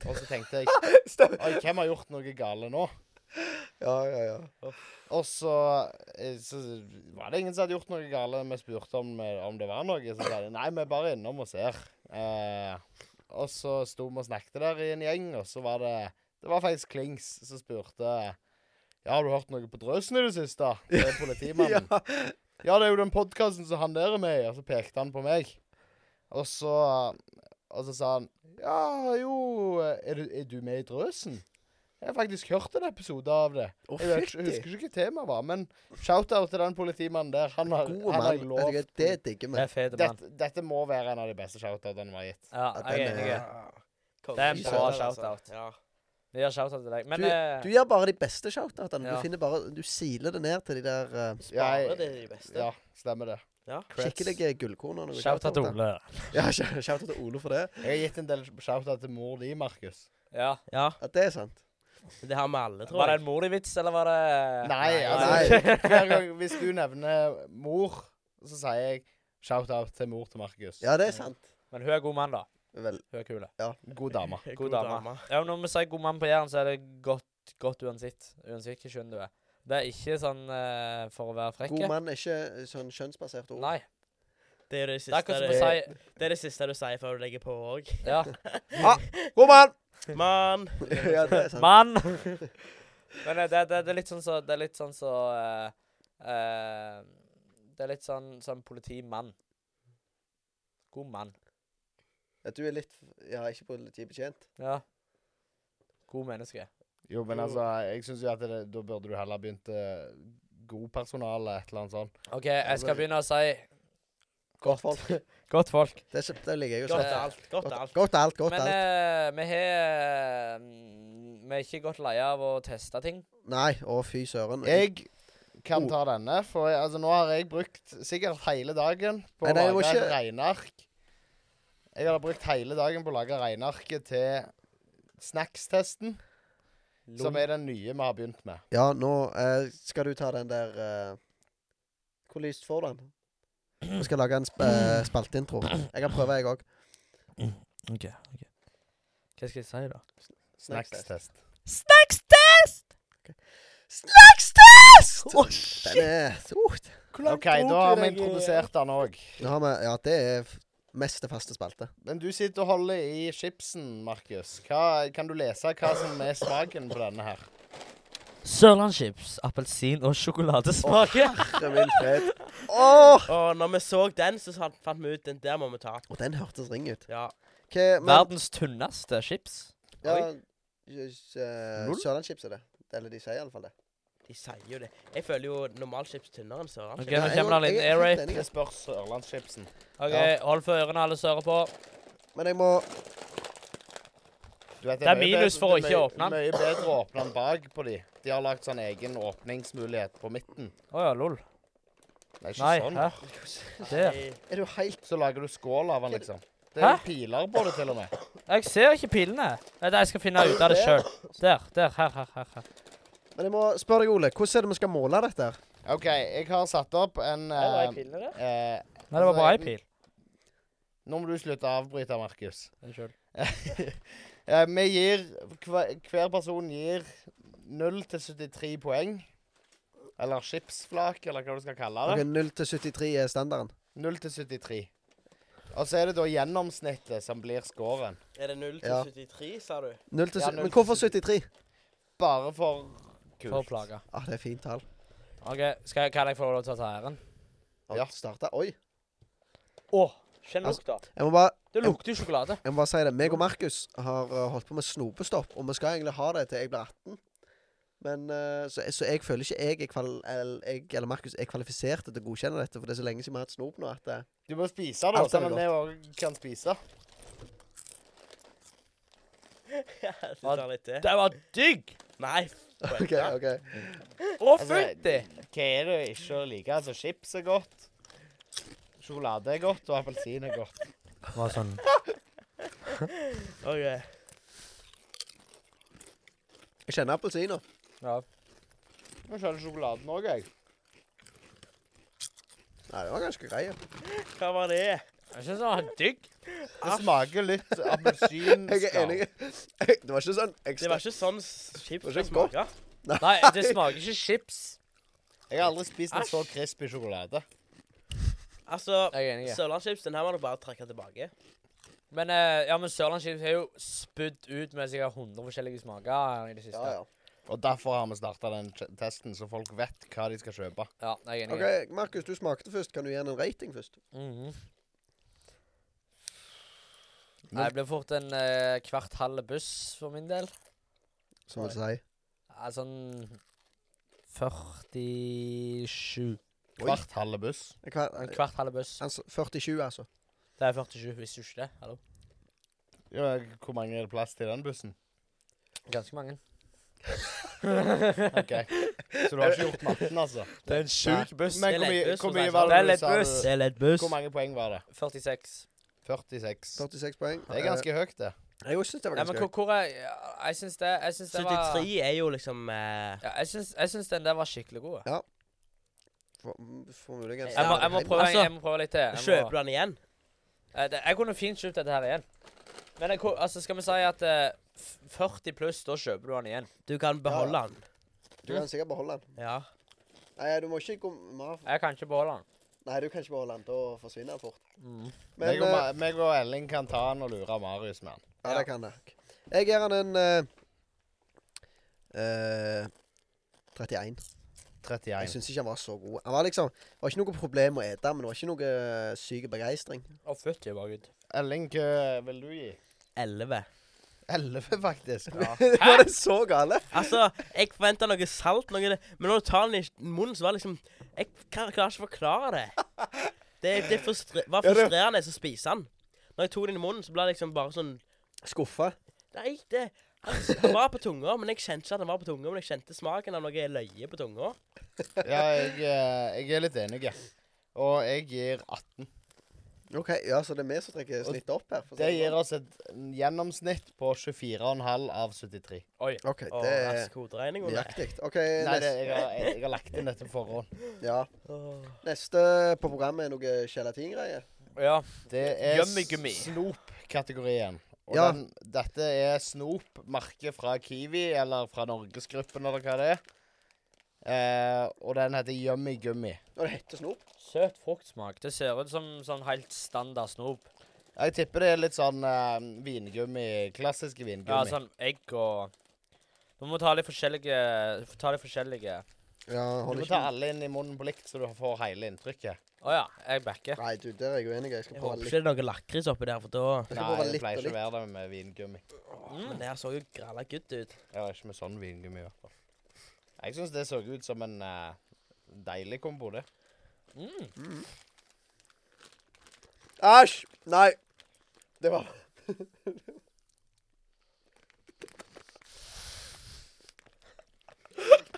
[SPEAKER 3] Og så tenkte jeg
[SPEAKER 1] Stemmer.
[SPEAKER 3] Oi, hvem har gjort noe gale nå?
[SPEAKER 1] Ja, ja, ja.
[SPEAKER 3] Og så, eh, så var det ingen som hadde gjort noe gale. Vi spurte om, eh, om det var noe. Så sa de nei, vi er bare innom og ser. Eh, og så sto vi og snakket der i en gjeng, og så var det Det var faktisk Klings som spurte Ja, har du hørt noe på drøsen i det siste? Det er
[SPEAKER 1] ja.
[SPEAKER 3] politimannen. Ja, det er jo den podkasten som han der er med i. Og så pekte han på meg. Og så Og så sa han Ja, jo Er du, er du med i Drøsen? Jeg har faktisk hørt en episode av det.
[SPEAKER 1] Å,
[SPEAKER 3] jeg vet, ikke-
[SPEAKER 1] fytti.
[SPEAKER 3] husker ikke hva temaet var, men shout-out til den politimannen der. Han har,
[SPEAKER 1] Gode
[SPEAKER 3] han har
[SPEAKER 1] mann.
[SPEAKER 3] jeg
[SPEAKER 1] Vet du hva,
[SPEAKER 3] lovt.
[SPEAKER 1] Det digger vi.
[SPEAKER 2] Det er fete mann.
[SPEAKER 3] Dette, dette må være en av de beste shout-outene vi har gitt.
[SPEAKER 2] Ja,
[SPEAKER 1] Ja,
[SPEAKER 2] jeg er
[SPEAKER 1] den
[SPEAKER 2] enig.
[SPEAKER 1] er-
[SPEAKER 4] Konge.
[SPEAKER 2] Det er en
[SPEAKER 1] bra
[SPEAKER 4] Altså.
[SPEAKER 2] shout-out.
[SPEAKER 4] Ja.
[SPEAKER 2] Vi har shout-out til deg. Men
[SPEAKER 1] Du
[SPEAKER 2] eh,
[SPEAKER 1] gir bare de beste shoutoutene.
[SPEAKER 2] Ja.
[SPEAKER 1] Du finner bare Du siler det ned til de der uh,
[SPEAKER 3] Ja,
[SPEAKER 4] Sparer
[SPEAKER 3] jeg-
[SPEAKER 4] det de beste.
[SPEAKER 3] Ja, stemmer det.
[SPEAKER 4] Ja.
[SPEAKER 3] Creds.
[SPEAKER 1] skikkelige gullkornene. og
[SPEAKER 2] shout-out til
[SPEAKER 1] shoutouter.
[SPEAKER 2] Ole.
[SPEAKER 1] Ja, shoutout til Ole for det.
[SPEAKER 3] Jeg har gitt en del shout-out til mor di, Markus.
[SPEAKER 2] Ja.
[SPEAKER 4] Ja,
[SPEAKER 1] Ja, det er sant.
[SPEAKER 4] Det har vi alle, tror
[SPEAKER 2] Var det
[SPEAKER 4] jeg.
[SPEAKER 2] en morlig-vits, eller var det
[SPEAKER 3] Nei,
[SPEAKER 1] nei.
[SPEAKER 3] altså Hver gang hvis du nevner mor, så sier jeg shout-out til mor til Markus.
[SPEAKER 1] Ja, det er sant.
[SPEAKER 2] Men hun er god mann, da.
[SPEAKER 1] Vel,
[SPEAKER 2] Hun er kul.
[SPEAKER 3] God dame.
[SPEAKER 4] God,
[SPEAKER 2] dame. Ja, men når vi sier god mann på Jæren, så er det godt, godt uansett. Uansett hvilken kjønn du er. Det er ikke sånn eh, for å være frekk.
[SPEAKER 1] god mann er ikke sånn kjønnsbasert ord.
[SPEAKER 2] Nei.
[SPEAKER 4] Det er det
[SPEAKER 2] Det er
[SPEAKER 4] siste,
[SPEAKER 2] akkurat som
[SPEAKER 4] du,
[SPEAKER 2] å si
[SPEAKER 4] det er det siste du sier før du legger på òg.
[SPEAKER 2] ja,
[SPEAKER 1] Ah, God mann!
[SPEAKER 4] Mann!
[SPEAKER 1] ja, det er sant.
[SPEAKER 2] mann! Men eh, det, det, det er litt sånn så Det er litt sånn så eh, eh, Det er litt sånn sånn politimann. God mann.
[SPEAKER 1] Ja, du er litt Ja, ikke politibetjent.
[SPEAKER 2] Ja. God menneske.
[SPEAKER 3] Jo, men altså, jeg syns jo at det, da burde du heller begynt eh, god personale, et eller annet sånt.
[SPEAKER 2] OK, jeg skal begynne å si
[SPEAKER 1] Godt folk.
[SPEAKER 2] godt folk.
[SPEAKER 1] Det, er så- det liker jeg jo
[SPEAKER 4] Godt
[SPEAKER 1] sånn.
[SPEAKER 2] eh,
[SPEAKER 4] alt. Godt alt.
[SPEAKER 1] Godt alt, godt
[SPEAKER 2] Men
[SPEAKER 1] alt.
[SPEAKER 2] eh, vi har mm, Vi er ikke godt leie av å teste ting.
[SPEAKER 1] Nei, å fy søren.
[SPEAKER 3] Jeg kan
[SPEAKER 1] Oh.
[SPEAKER 3] ta denne, for jeg, altså, nå har jeg brukt sikkert hele dagen på
[SPEAKER 1] Nei,
[SPEAKER 3] å
[SPEAKER 1] nei, jeg må
[SPEAKER 3] lage
[SPEAKER 1] ikke-
[SPEAKER 3] et regneark. Jeg har brukt hele dagen på å lage regnearket til snackstesten, som er den nye vi har begynt med.
[SPEAKER 1] Ja, nå eh, skal du ta den der eh, Hvor lyst får du den? Vi skal lage en sp eh, spalteintro. Jeg kan prøve, jeg òg.
[SPEAKER 2] OK. ok. Hva skal jeg si, da?
[SPEAKER 3] Snackstest.
[SPEAKER 1] Snackstest! Den er stort.
[SPEAKER 3] OK, da har
[SPEAKER 2] eh?
[SPEAKER 3] vi introdusert han òg.
[SPEAKER 1] Nå har vi Ja, det er f- mest det faste spalte.
[SPEAKER 3] Men du sitter og holder i chipsen, Markus. Hva- Kan du lese hva som er smaken på denne her?
[SPEAKER 2] Sørlandschips, appelsin og sjokoladesmak.
[SPEAKER 1] Herre min fred. Åh!
[SPEAKER 4] Og når vi så den, så sa- fant vi ut den der må vi ta.
[SPEAKER 1] Og den hørtes ring ut.
[SPEAKER 4] Ja.
[SPEAKER 1] Hva men,
[SPEAKER 2] Verdens tynneste chips.
[SPEAKER 1] ja,
[SPEAKER 4] Oi.
[SPEAKER 1] s- eh,
[SPEAKER 2] Null?
[SPEAKER 1] Sørlandschips er det. Eller de sier iallfall det.
[SPEAKER 4] De sier jo det. Jeg føler jo normalchips tynnere enn
[SPEAKER 2] Ok,
[SPEAKER 4] sørlandschips.
[SPEAKER 2] Nå
[SPEAKER 1] Nei, jeg-
[SPEAKER 2] kommer det en
[SPEAKER 1] jeg er
[SPEAKER 2] liten air
[SPEAKER 1] helt
[SPEAKER 2] rape.
[SPEAKER 1] enig.
[SPEAKER 3] Det spør Sørlandschipsen.
[SPEAKER 2] Ok,
[SPEAKER 1] Ja.
[SPEAKER 2] Hold for ørene, alle sører på.
[SPEAKER 1] Men jeg må
[SPEAKER 3] Du vet,
[SPEAKER 2] Det er
[SPEAKER 3] mye
[SPEAKER 2] minus
[SPEAKER 3] bedre-
[SPEAKER 2] for å
[SPEAKER 3] det er
[SPEAKER 2] ikke
[SPEAKER 3] mye-
[SPEAKER 2] åpne den.
[SPEAKER 3] Mye bedre å åpne den bak på de. De har lagt sånn egen åpningsmulighet på midten.
[SPEAKER 2] Å ja, lol.
[SPEAKER 3] Det er ikke
[SPEAKER 2] Nei,
[SPEAKER 3] sånn.
[SPEAKER 2] hæ? Der.
[SPEAKER 4] Nei,
[SPEAKER 1] Er du helt
[SPEAKER 3] Så lager du skål av den, liksom. Det er
[SPEAKER 2] Hæ?
[SPEAKER 3] piler på det, til og med.
[SPEAKER 2] Jeg ser ikke pilene. Nei, det- jeg skal finne ut av det sjøl. Der. der, her, her, her, her.
[SPEAKER 1] Men jeg må spørre deg, Ole. Hvordan er det vi skal måle dette? her?
[SPEAKER 3] OK, jeg har satt opp en eh, eh,
[SPEAKER 2] Nei, det var bare ei pil.
[SPEAKER 3] Nå må du slutte å avbryte, Markus.
[SPEAKER 2] Unnskyld.
[SPEAKER 3] Eh, vi gir hver, hver person gir 0 til 73 poeng. Eller chipsflak, eller hva du skal kalle
[SPEAKER 1] Ok,
[SPEAKER 3] det.
[SPEAKER 1] 0 til 73 er standarden.
[SPEAKER 3] 0 til 73. Og så er det da gjennomsnittet som blir scoren.
[SPEAKER 4] Er det 0 til
[SPEAKER 1] Ja.
[SPEAKER 4] 73, sa du?
[SPEAKER 1] 0 til
[SPEAKER 3] Ja,
[SPEAKER 1] sy-
[SPEAKER 3] 0
[SPEAKER 1] men
[SPEAKER 3] til
[SPEAKER 1] hvorfor
[SPEAKER 3] 73?
[SPEAKER 1] 73?
[SPEAKER 3] Bare for
[SPEAKER 2] For
[SPEAKER 3] kult.
[SPEAKER 2] plaga.
[SPEAKER 1] Ah, det er fint tall.
[SPEAKER 2] Ok, skal, jeg- Kan jeg få lov til å ta æren?
[SPEAKER 1] Alt
[SPEAKER 3] Ja.
[SPEAKER 1] starta. Oi.
[SPEAKER 2] Å, kjenn lukta.
[SPEAKER 1] Jeg må bare,
[SPEAKER 2] Altså, Det lukter jo sjokolade.
[SPEAKER 1] jeg må bare si det. Meg og Markus har uh, holdt på med snopestopp, og vi skal egentlig ha det til jeg blir 18. Men, uh, så, så jeg føler ikke jeg er, kval eller, jeg, eller Markus er kvalifisert til å godkjenne dette, for det er så lenge siden vi har hatt snop nå at uh,
[SPEAKER 3] Du må spise det,
[SPEAKER 1] Alt er
[SPEAKER 3] sånn at vi òg kan spise.
[SPEAKER 4] Ja, du tar litt til.
[SPEAKER 2] Det var digg!
[SPEAKER 4] Nei. f-
[SPEAKER 1] OK. ok.
[SPEAKER 2] Å, fytti!
[SPEAKER 3] Altså, Hva er det ikke å like? Altså, chips er godt. Sjokolade er godt, og appelsin er godt.
[SPEAKER 2] Var sånn
[SPEAKER 4] OK.
[SPEAKER 1] Jeg kjenner appelsiner.
[SPEAKER 2] Ja.
[SPEAKER 3] Nå skjønner sjokoladen òg, jeg.
[SPEAKER 1] Nei, det var ganske greie.
[SPEAKER 4] Hva var det?
[SPEAKER 2] Jeg syns den var digg.
[SPEAKER 3] Det smaker litt appelsinskall.
[SPEAKER 1] Jeg er enig. Det var ikke sånn
[SPEAKER 4] Det
[SPEAKER 1] ekstra
[SPEAKER 4] var ikke sånn s- chips
[SPEAKER 1] Det var
[SPEAKER 4] det
[SPEAKER 1] ikke godt.
[SPEAKER 4] smaker.
[SPEAKER 2] Nei, det smaker ikke chips.
[SPEAKER 3] Jeg har aldri spist en så crispy sjokolade.
[SPEAKER 4] Altså,
[SPEAKER 2] Jeg er enig.
[SPEAKER 4] sørlandschips, den her må du bare trekke tilbake.
[SPEAKER 2] Men, eh, ja, men Sørlandschips har jo spydd ut med sikkert 100 forskjellige smaker i det siste.
[SPEAKER 1] Ja, ja.
[SPEAKER 3] Og derfor har vi starta den t- testen, så folk vet hva de skal kjøpe.
[SPEAKER 2] Ja, jeg er enig.
[SPEAKER 1] OK, Markus, du smakte først. Kan du gi den en rating først?
[SPEAKER 2] Mhm. Nei, det ble fort en eh, kvart halv buss for min del.
[SPEAKER 1] Som altså vil si.
[SPEAKER 2] Ja, sånn 47.
[SPEAKER 3] Hvert halve buss.
[SPEAKER 1] Hva,
[SPEAKER 2] En kvart halv buss.
[SPEAKER 1] altså, 47, altså.
[SPEAKER 2] Det er 47, visste du ikke det? Hallo?
[SPEAKER 3] Ja, hvor mange er det plass til i den bussen?
[SPEAKER 2] Ganske mange.
[SPEAKER 3] Ok. Så du har ikke gjort matten, altså?
[SPEAKER 2] Det er en
[SPEAKER 3] sjuk
[SPEAKER 2] buss.
[SPEAKER 3] Men
[SPEAKER 2] det
[SPEAKER 3] hvor
[SPEAKER 2] er
[SPEAKER 3] mye,
[SPEAKER 2] lettbuss,
[SPEAKER 3] hvor
[SPEAKER 2] for å si det sånn. Det
[SPEAKER 3] mye var det du
[SPEAKER 2] er
[SPEAKER 3] sa?
[SPEAKER 2] lettbuss.
[SPEAKER 3] du-
[SPEAKER 4] er lettbuss.
[SPEAKER 3] Hvor mange poeng var det?
[SPEAKER 2] 46.
[SPEAKER 3] 46.
[SPEAKER 1] 46 poeng.
[SPEAKER 3] Det er ganske høyt, det.
[SPEAKER 1] Eh, Jeg syns det var
[SPEAKER 2] Nei, men
[SPEAKER 1] ganske
[SPEAKER 2] hvor,
[SPEAKER 1] høyt.
[SPEAKER 2] hvor er ja, Jeg syns det, jeg syns det var
[SPEAKER 4] 73 er jo liksom eh,
[SPEAKER 2] ja, jeg, syns, jeg syns den der var skikkelig god.
[SPEAKER 1] For, mm, for muligens.
[SPEAKER 2] Jeg må, jeg må, prøve,
[SPEAKER 4] Altså,
[SPEAKER 2] jeg må prøve litt til. Jeg,
[SPEAKER 4] Kjøper
[SPEAKER 2] må,
[SPEAKER 4] du den igjen?
[SPEAKER 2] Eh, det- jeg kunne fint kjøpt dette her igjen. Men jeg, ko- altså, skal vi si at eh, f- 40 pluss, da kjøper du den igjen.
[SPEAKER 4] Du kan beholde den.
[SPEAKER 1] Du kan sikkert beholde den.
[SPEAKER 4] Ja.
[SPEAKER 1] Nei, du må ikke gå mer.
[SPEAKER 2] Jeg kan ikke beholde den.
[SPEAKER 1] Nei, du kan ikke beholde den. Da forsvinner den fort.
[SPEAKER 2] Mm.
[SPEAKER 1] Men
[SPEAKER 3] meg, og,
[SPEAKER 1] eh,
[SPEAKER 3] Ma- meg og Elling kan ta den og lure Marius med den.
[SPEAKER 1] Ja, det kan jeg. Jeg gir den en eh, eh, 31. Jeg
[SPEAKER 3] 31.
[SPEAKER 1] syns ikke han var så god. Han var liksom Det var ikke noe problem å ete, men det var ikke noe eh, syk begeistring.
[SPEAKER 2] Å, fytti var gud.
[SPEAKER 3] Elling, hva vil du gi?
[SPEAKER 4] 11.
[SPEAKER 3] 11, faktisk.
[SPEAKER 1] Var det så gale?
[SPEAKER 4] Altså, jeg forventa noe salt, noe det. men når du tar den i munnen, så var det liksom Jeg kan, klarer ikke å forklare det. Det, det frustre, var
[SPEAKER 1] Ja, det-
[SPEAKER 4] frustrerende å spise den. Når jeg tok den i munnen, så ble det liksom bare sånn
[SPEAKER 1] Skuffa.
[SPEAKER 4] Nei, det Den var på tunga, men jeg kjente ikke at den var på tunga. Men jeg kjente smaken av noe løye på tunga.
[SPEAKER 3] Ja, jeg, eh, jeg er litt enig. jeg. Og jeg gir 18.
[SPEAKER 1] OK, ja, så det er vi som trekker snittet opp her. for å si
[SPEAKER 3] Det
[SPEAKER 1] sånn.
[SPEAKER 3] gir oss et gjennomsnitt på 24,5 av 73.
[SPEAKER 1] OK,
[SPEAKER 4] Å,
[SPEAKER 1] det
[SPEAKER 4] rask
[SPEAKER 1] er
[SPEAKER 4] hoderegning. Ole.
[SPEAKER 1] nøyaktig. OK,
[SPEAKER 3] Nei, det,
[SPEAKER 1] neste,
[SPEAKER 3] jeg, har, jeg, jeg har lagt inn dette på forhånd.
[SPEAKER 1] ja.
[SPEAKER 4] Åh.
[SPEAKER 1] neste på programmet er noe gelatingreie.
[SPEAKER 2] Ja.
[SPEAKER 3] Det er
[SPEAKER 2] Gummi-gummi.
[SPEAKER 3] snop-kategorien. Og
[SPEAKER 1] Ja.
[SPEAKER 3] den, dette er snop-merket fra Kiwi, eller fra Norgesgruppen, eller hva det er. Eh, og den heter Yummy Gummy.
[SPEAKER 1] Og det heter snop.
[SPEAKER 2] Søt fruktsmak. Det ser ut som sånn helt standard snop.
[SPEAKER 3] Jeg tipper det er litt sånn eh, vingummi. Klassisk vingummi.
[SPEAKER 2] Ja, sånn egg og Du må ta litt forskjellige Ta litt forskjellige.
[SPEAKER 1] Ja,
[SPEAKER 3] Du
[SPEAKER 1] hold
[SPEAKER 3] må
[SPEAKER 1] ikke
[SPEAKER 3] ta alle inn i munnen på likt, så du får hele inntrykket.
[SPEAKER 2] Å ja, jeg backer.
[SPEAKER 1] Nei, du, der er jeg uenig. Jeg skal
[SPEAKER 4] Jeg
[SPEAKER 1] prøve
[SPEAKER 4] håper
[SPEAKER 1] litt.
[SPEAKER 4] ikke det er noe lakris oppi der, for da
[SPEAKER 1] Jeg skal
[SPEAKER 3] Nei,
[SPEAKER 1] prøve
[SPEAKER 3] det
[SPEAKER 1] litt
[SPEAKER 3] pleier
[SPEAKER 1] og
[SPEAKER 3] ikke å
[SPEAKER 1] litt.
[SPEAKER 3] være det med vingummi.
[SPEAKER 4] Men det her så jo gralla good ut.
[SPEAKER 3] Jeg var ikke med sånn vingummi, i hvert fall. Jeg syns det så ut som en eh, deilig kombo, det.
[SPEAKER 2] Mm.
[SPEAKER 1] Æsj! Nei. Det var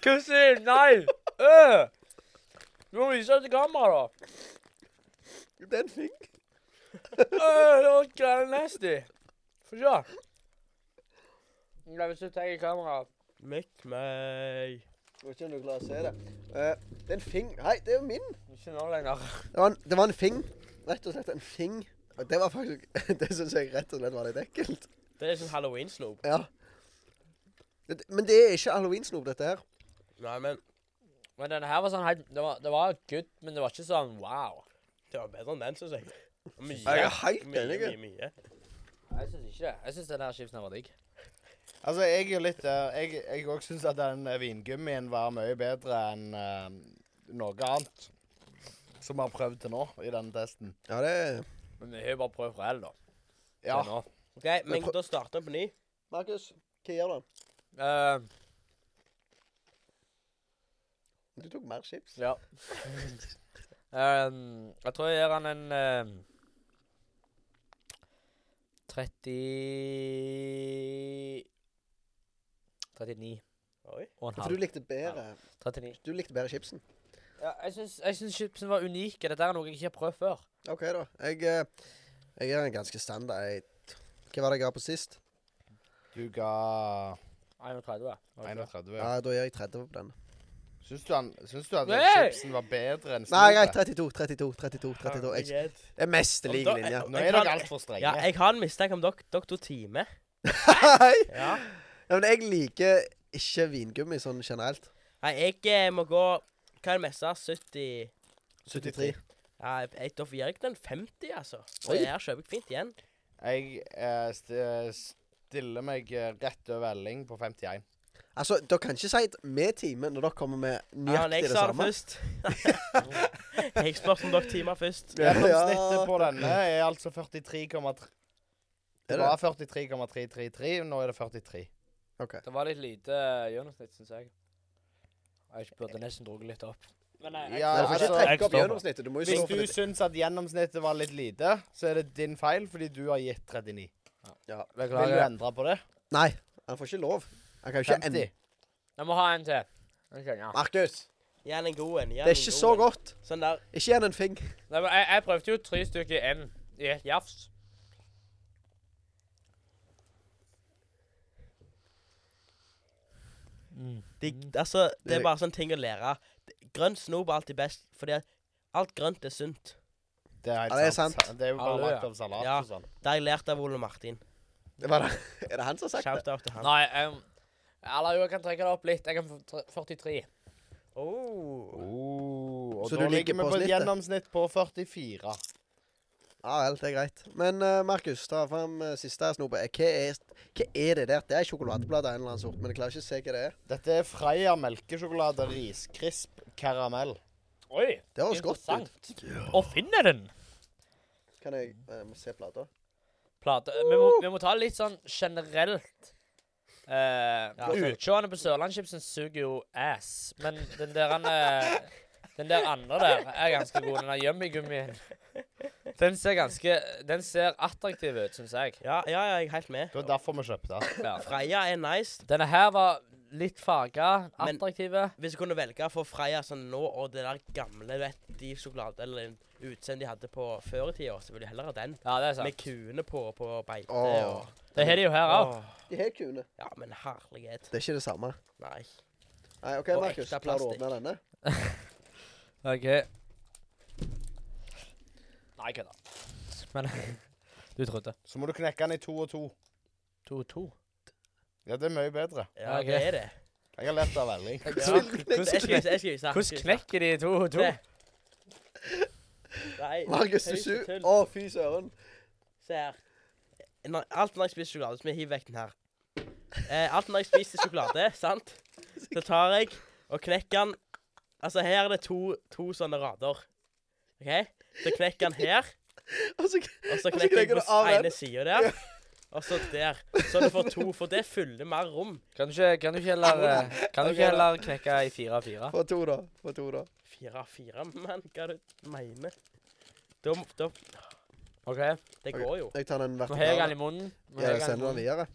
[SPEAKER 2] Kusin, nei! Øh! Du må vise det til kamera, da.
[SPEAKER 1] Den fikk
[SPEAKER 2] Øh, det var greit nasty. Få se. Nei, Hvis du tar i kamera
[SPEAKER 4] Møkk meg.
[SPEAKER 1] Jeg vet ikke om du klarer å se det. Eh, det er en fing. Nei, det er jo min.
[SPEAKER 2] Ikke nå lenger.
[SPEAKER 1] Det var en, det var en fing. Rett og slett en fing. Og det var faktisk Det syns jeg rett og slett var litt ekkelt.
[SPEAKER 4] Det er sånn halloween-snop.
[SPEAKER 1] Ja. Det, men det er ikke halloweensnop, dette her.
[SPEAKER 4] Nei, men
[SPEAKER 2] Men denne her var sånn helt Det var, det var good, men det var ikke sånn wow.
[SPEAKER 4] det var bedre enn den, syns jeg. Mye.
[SPEAKER 1] Jeg er helt
[SPEAKER 4] mye,
[SPEAKER 1] enig.
[SPEAKER 4] mye, mye.
[SPEAKER 2] Jeg syns ikke det. Jeg syns den her chipsen her var digg.
[SPEAKER 3] Altså, jeg er jo litt eh, Jeg, jeg òg syns at den eh, vingummien var mye bedre enn eh, noe annet som vi har prøvd til nå i denne testen.
[SPEAKER 1] Ja, det
[SPEAKER 2] Men vi har jo bare prøvd fra L, da. til
[SPEAKER 3] Ja.
[SPEAKER 2] nå.
[SPEAKER 4] OK,
[SPEAKER 1] Men
[SPEAKER 4] men
[SPEAKER 1] prøv-
[SPEAKER 4] da starter vi på ny.
[SPEAKER 1] Markus, hva gjør du?
[SPEAKER 2] Eh,
[SPEAKER 1] Du tok mer chips.
[SPEAKER 2] ja. Ehm, jeg tror jeg gir han en ehm, 30 39
[SPEAKER 4] Oi.
[SPEAKER 2] og en
[SPEAKER 1] For du
[SPEAKER 2] halv.
[SPEAKER 1] likte bedre
[SPEAKER 2] 39.
[SPEAKER 1] Du likte bedre chipsen.
[SPEAKER 2] Ja, jeg syns- jeg syns chipsen var unik. Dette er noe jeg ikke har prøvd før.
[SPEAKER 1] OK, da. Jeg, eh, jeg er en ganske standard jeg- Hva var det jeg ga på sist?
[SPEAKER 3] Du ga
[SPEAKER 2] 31. var det ikke det?
[SPEAKER 3] 31.
[SPEAKER 1] Ja, Da gir jeg 30 på den.
[SPEAKER 3] Syns du, han, syns du at den
[SPEAKER 2] Nei!
[SPEAKER 3] chipsen var bedre enn
[SPEAKER 1] Nei, greit.
[SPEAKER 3] snopet?
[SPEAKER 1] 32, 32, 32. 32. Jeg,
[SPEAKER 4] Herregud.
[SPEAKER 1] det er mest lik
[SPEAKER 4] Da-
[SPEAKER 1] linje.
[SPEAKER 3] Nå
[SPEAKER 4] Jeg
[SPEAKER 3] er dere
[SPEAKER 4] kan-
[SPEAKER 3] altfor strenge.
[SPEAKER 4] Ja, jeg har en mistanke om dere. Dere tok time.
[SPEAKER 1] Nei,
[SPEAKER 4] Ja.
[SPEAKER 1] men jeg liker ikke vingummi sånn generelt.
[SPEAKER 4] Nei, jeg eh, må gå Hva er det meste? 70
[SPEAKER 1] 73.
[SPEAKER 4] Ja, jeg, da gir jeg den 50, altså.
[SPEAKER 1] Oi.
[SPEAKER 4] Og her kjøper jeg fint igjen.
[SPEAKER 3] Jeg eh, st eh, stiller meg eh, rett over Elling på 51.
[SPEAKER 1] Altså, dere kan ikke si at med time når dere kommer med
[SPEAKER 4] Ja, men
[SPEAKER 1] nøyaktig
[SPEAKER 4] jeg
[SPEAKER 1] det
[SPEAKER 4] sa det
[SPEAKER 1] samme.
[SPEAKER 4] først. jeg spurte om dere timer først.
[SPEAKER 1] Ja.
[SPEAKER 3] Gjennomsnittet på denne er altså 43,3.
[SPEAKER 1] Er
[SPEAKER 3] Det
[SPEAKER 1] det?
[SPEAKER 3] var 43,333, nå er det 43.
[SPEAKER 1] OK.
[SPEAKER 2] Det var litt lite gjennomsnitt, syns jeg. Jeg burde nesten drukket litt opp. Men jeg, jeg,
[SPEAKER 3] Ja,
[SPEAKER 1] Men du får
[SPEAKER 3] altså,
[SPEAKER 1] ikke
[SPEAKER 2] jeg
[SPEAKER 1] trekke opp
[SPEAKER 2] står for det.
[SPEAKER 1] gjennomsnittet. Du må jo
[SPEAKER 3] Hvis
[SPEAKER 1] stå
[SPEAKER 3] du
[SPEAKER 1] for det.
[SPEAKER 3] syns at gjennomsnittet var litt lite, så er det din feil, fordi du har gitt 39.
[SPEAKER 1] Ja.
[SPEAKER 3] Vil du
[SPEAKER 2] beklager.
[SPEAKER 3] endre på det?
[SPEAKER 1] Nei, han får ikke lov. Han kan jo ikke
[SPEAKER 3] 50.
[SPEAKER 1] ende
[SPEAKER 2] Jeg må ha en til. Jeg kjenner.
[SPEAKER 1] Markus,
[SPEAKER 4] Gjerne en god en. gjerne
[SPEAKER 1] det er
[SPEAKER 4] en
[SPEAKER 1] ikke
[SPEAKER 4] god
[SPEAKER 1] så
[SPEAKER 4] en.
[SPEAKER 1] godt.
[SPEAKER 4] Sånn der.
[SPEAKER 1] Ikke igjen en fing.
[SPEAKER 2] Nei, men jeg, jeg prøvde jo tre stykker i en i et jafs.
[SPEAKER 4] De, altså, det
[SPEAKER 1] Mm. Det-
[SPEAKER 4] er bare sånn ting å lære. Grønn snop er alltid best, fordi at alt grønt er sunt.
[SPEAKER 3] Det er, helt
[SPEAKER 1] Ja, det er
[SPEAKER 3] sant. Det er jo bare
[SPEAKER 2] Halleluja.
[SPEAKER 3] lagt av salat
[SPEAKER 4] Ja.
[SPEAKER 3] og sånn.
[SPEAKER 4] Det har jeg lært av Ole Martin.
[SPEAKER 1] Det var det. Er det han som har sagt det?
[SPEAKER 4] Shout-out til han.
[SPEAKER 2] Nei, em, eller jo, jeg kan trekke det opp litt. Jeg kan få tre- 43.
[SPEAKER 4] Oh.
[SPEAKER 3] Oh, og
[SPEAKER 1] Så
[SPEAKER 3] da
[SPEAKER 1] du ligger
[SPEAKER 3] ligger vi
[SPEAKER 1] på
[SPEAKER 3] på et
[SPEAKER 1] snittet?
[SPEAKER 3] gjennomsnitt på 44.
[SPEAKER 1] Ja vel, det er greit. Men eh, Markus, ta fram eh, siste snopet. Hva, er- hva er det der? Det er sjokoladeblad av en eller annen sort, men jeg klarer ikke å se hva det er.
[SPEAKER 3] Dette er Freia melkesjokolade, riskrisp, karamell.
[SPEAKER 2] Oi,
[SPEAKER 1] Det høres godt ut.
[SPEAKER 2] interessant. Å finne den!
[SPEAKER 1] Kan jeg eh, må se plata?
[SPEAKER 2] Plate. Vi må, vi må ta litt sånn generelt. Uh,
[SPEAKER 4] altså-
[SPEAKER 2] Utseende på Sørlandschipsen suger jo ass, men den der han, eh, Den der andre der er ganske god. Den der yummy-gummien. Den ser ganske Den ser attraktiv ut, syns jeg.
[SPEAKER 4] Ja, ja, ja, jeg er helt med.
[SPEAKER 3] Det var derfor vi kjøpte.
[SPEAKER 2] Ja.
[SPEAKER 4] Freia er nice.
[SPEAKER 2] Denne her var litt farga,
[SPEAKER 4] Men-
[SPEAKER 2] attraktive.
[SPEAKER 4] Hvis jeg kunne velge for Freia sånn nå og det der gamle vet, de sjokolade, eller utseendet de hadde på før i tida, så ville jeg heller ha den.
[SPEAKER 2] Ja, det er
[SPEAKER 4] Med
[SPEAKER 2] sant.
[SPEAKER 4] kuene på på beite
[SPEAKER 1] Åh.
[SPEAKER 4] og
[SPEAKER 2] Det har de jo her òg.
[SPEAKER 4] Åh.
[SPEAKER 1] De har kune.
[SPEAKER 4] Ja, men herlighet.
[SPEAKER 1] Det er ikke det samme.
[SPEAKER 4] Nei.
[SPEAKER 1] Nei, OK,
[SPEAKER 4] Og
[SPEAKER 1] Markus.
[SPEAKER 4] ekte
[SPEAKER 1] Klarer du å
[SPEAKER 4] plastikk.
[SPEAKER 1] åpne denne?
[SPEAKER 2] OK. Nei, kødda. Men Du trodde.
[SPEAKER 3] Så må du knekke den i to og to.
[SPEAKER 2] 2-2.
[SPEAKER 3] Ja, det er mye bedre.
[SPEAKER 4] Ja,
[SPEAKER 2] Ok.
[SPEAKER 4] det er det.
[SPEAKER 3] Jeg har lært av velling.
[SPEAKER 4] Ja.
[SPEAKER 2] Hvordan-
[SPEAKER 4] Jeg skal jeg skal- jeg skal vise.
[SPEAKER 2] Hvordan knekker de to og to?
[SPEAKER 4] Det. Nei,
[SPEAKER 1] Markus, du
[SPEAKER 4] tøys og
[SPEAKER 1] suger.
[SPEAKER 4] tull.
[SPEAKER 1] Å, fy søren.
[SPEAKER 4] Se her. Når, alt når jeg spiser sjokolade, så må jeg hive vekk den her. Eh, alt når jeg spiser sjokolade, sant, så tar jeg og knekker den. Altså, her er det to, to sånne rader. OK? Så knekker den her,
[SPEAKER 1] Altså,
[SPEAKER 4] og så
[SPEAKER 1] Og så
[SPEAKER 4] knekker jeg
[SPEAKER 1] knekker du
[SPEAKER 4] på
[SPEAKER 1] av den.
[SPEAKER 4] ene sida der. Og så der. Så du får to, for det fyller mer rom.
[SPEAKER 2] Kan du ikke, kan du ikke heller, eh, kan
[SPEAKER 1] Ok,
[SPEAKER 2] du ikke
[SPEAKER 1] da.
[SPEAKER 2] heller knekke i fire av fire?
[SPEAKER 1] få to, da. Få to, da.
[SPEAKER 4] Fire av fire, mann. Hva er det du mener? Da, da,
[SPEAKER 2] OK.
[SPEAKER 4] det går jo.
[SPEAKER 1] Jeg tar den
[SPEAKER 2] Nå har jeg
[SPEAKER 1] vertikale.
[SPEAKER 2] den i munnen. Nå har
[SPEAKER 1] Ja,
[SPEAKER 2] jeg den i
[SPEAKER 1] send den
[SPEAKER 2] munnen.
[SPEAKER 1] videre.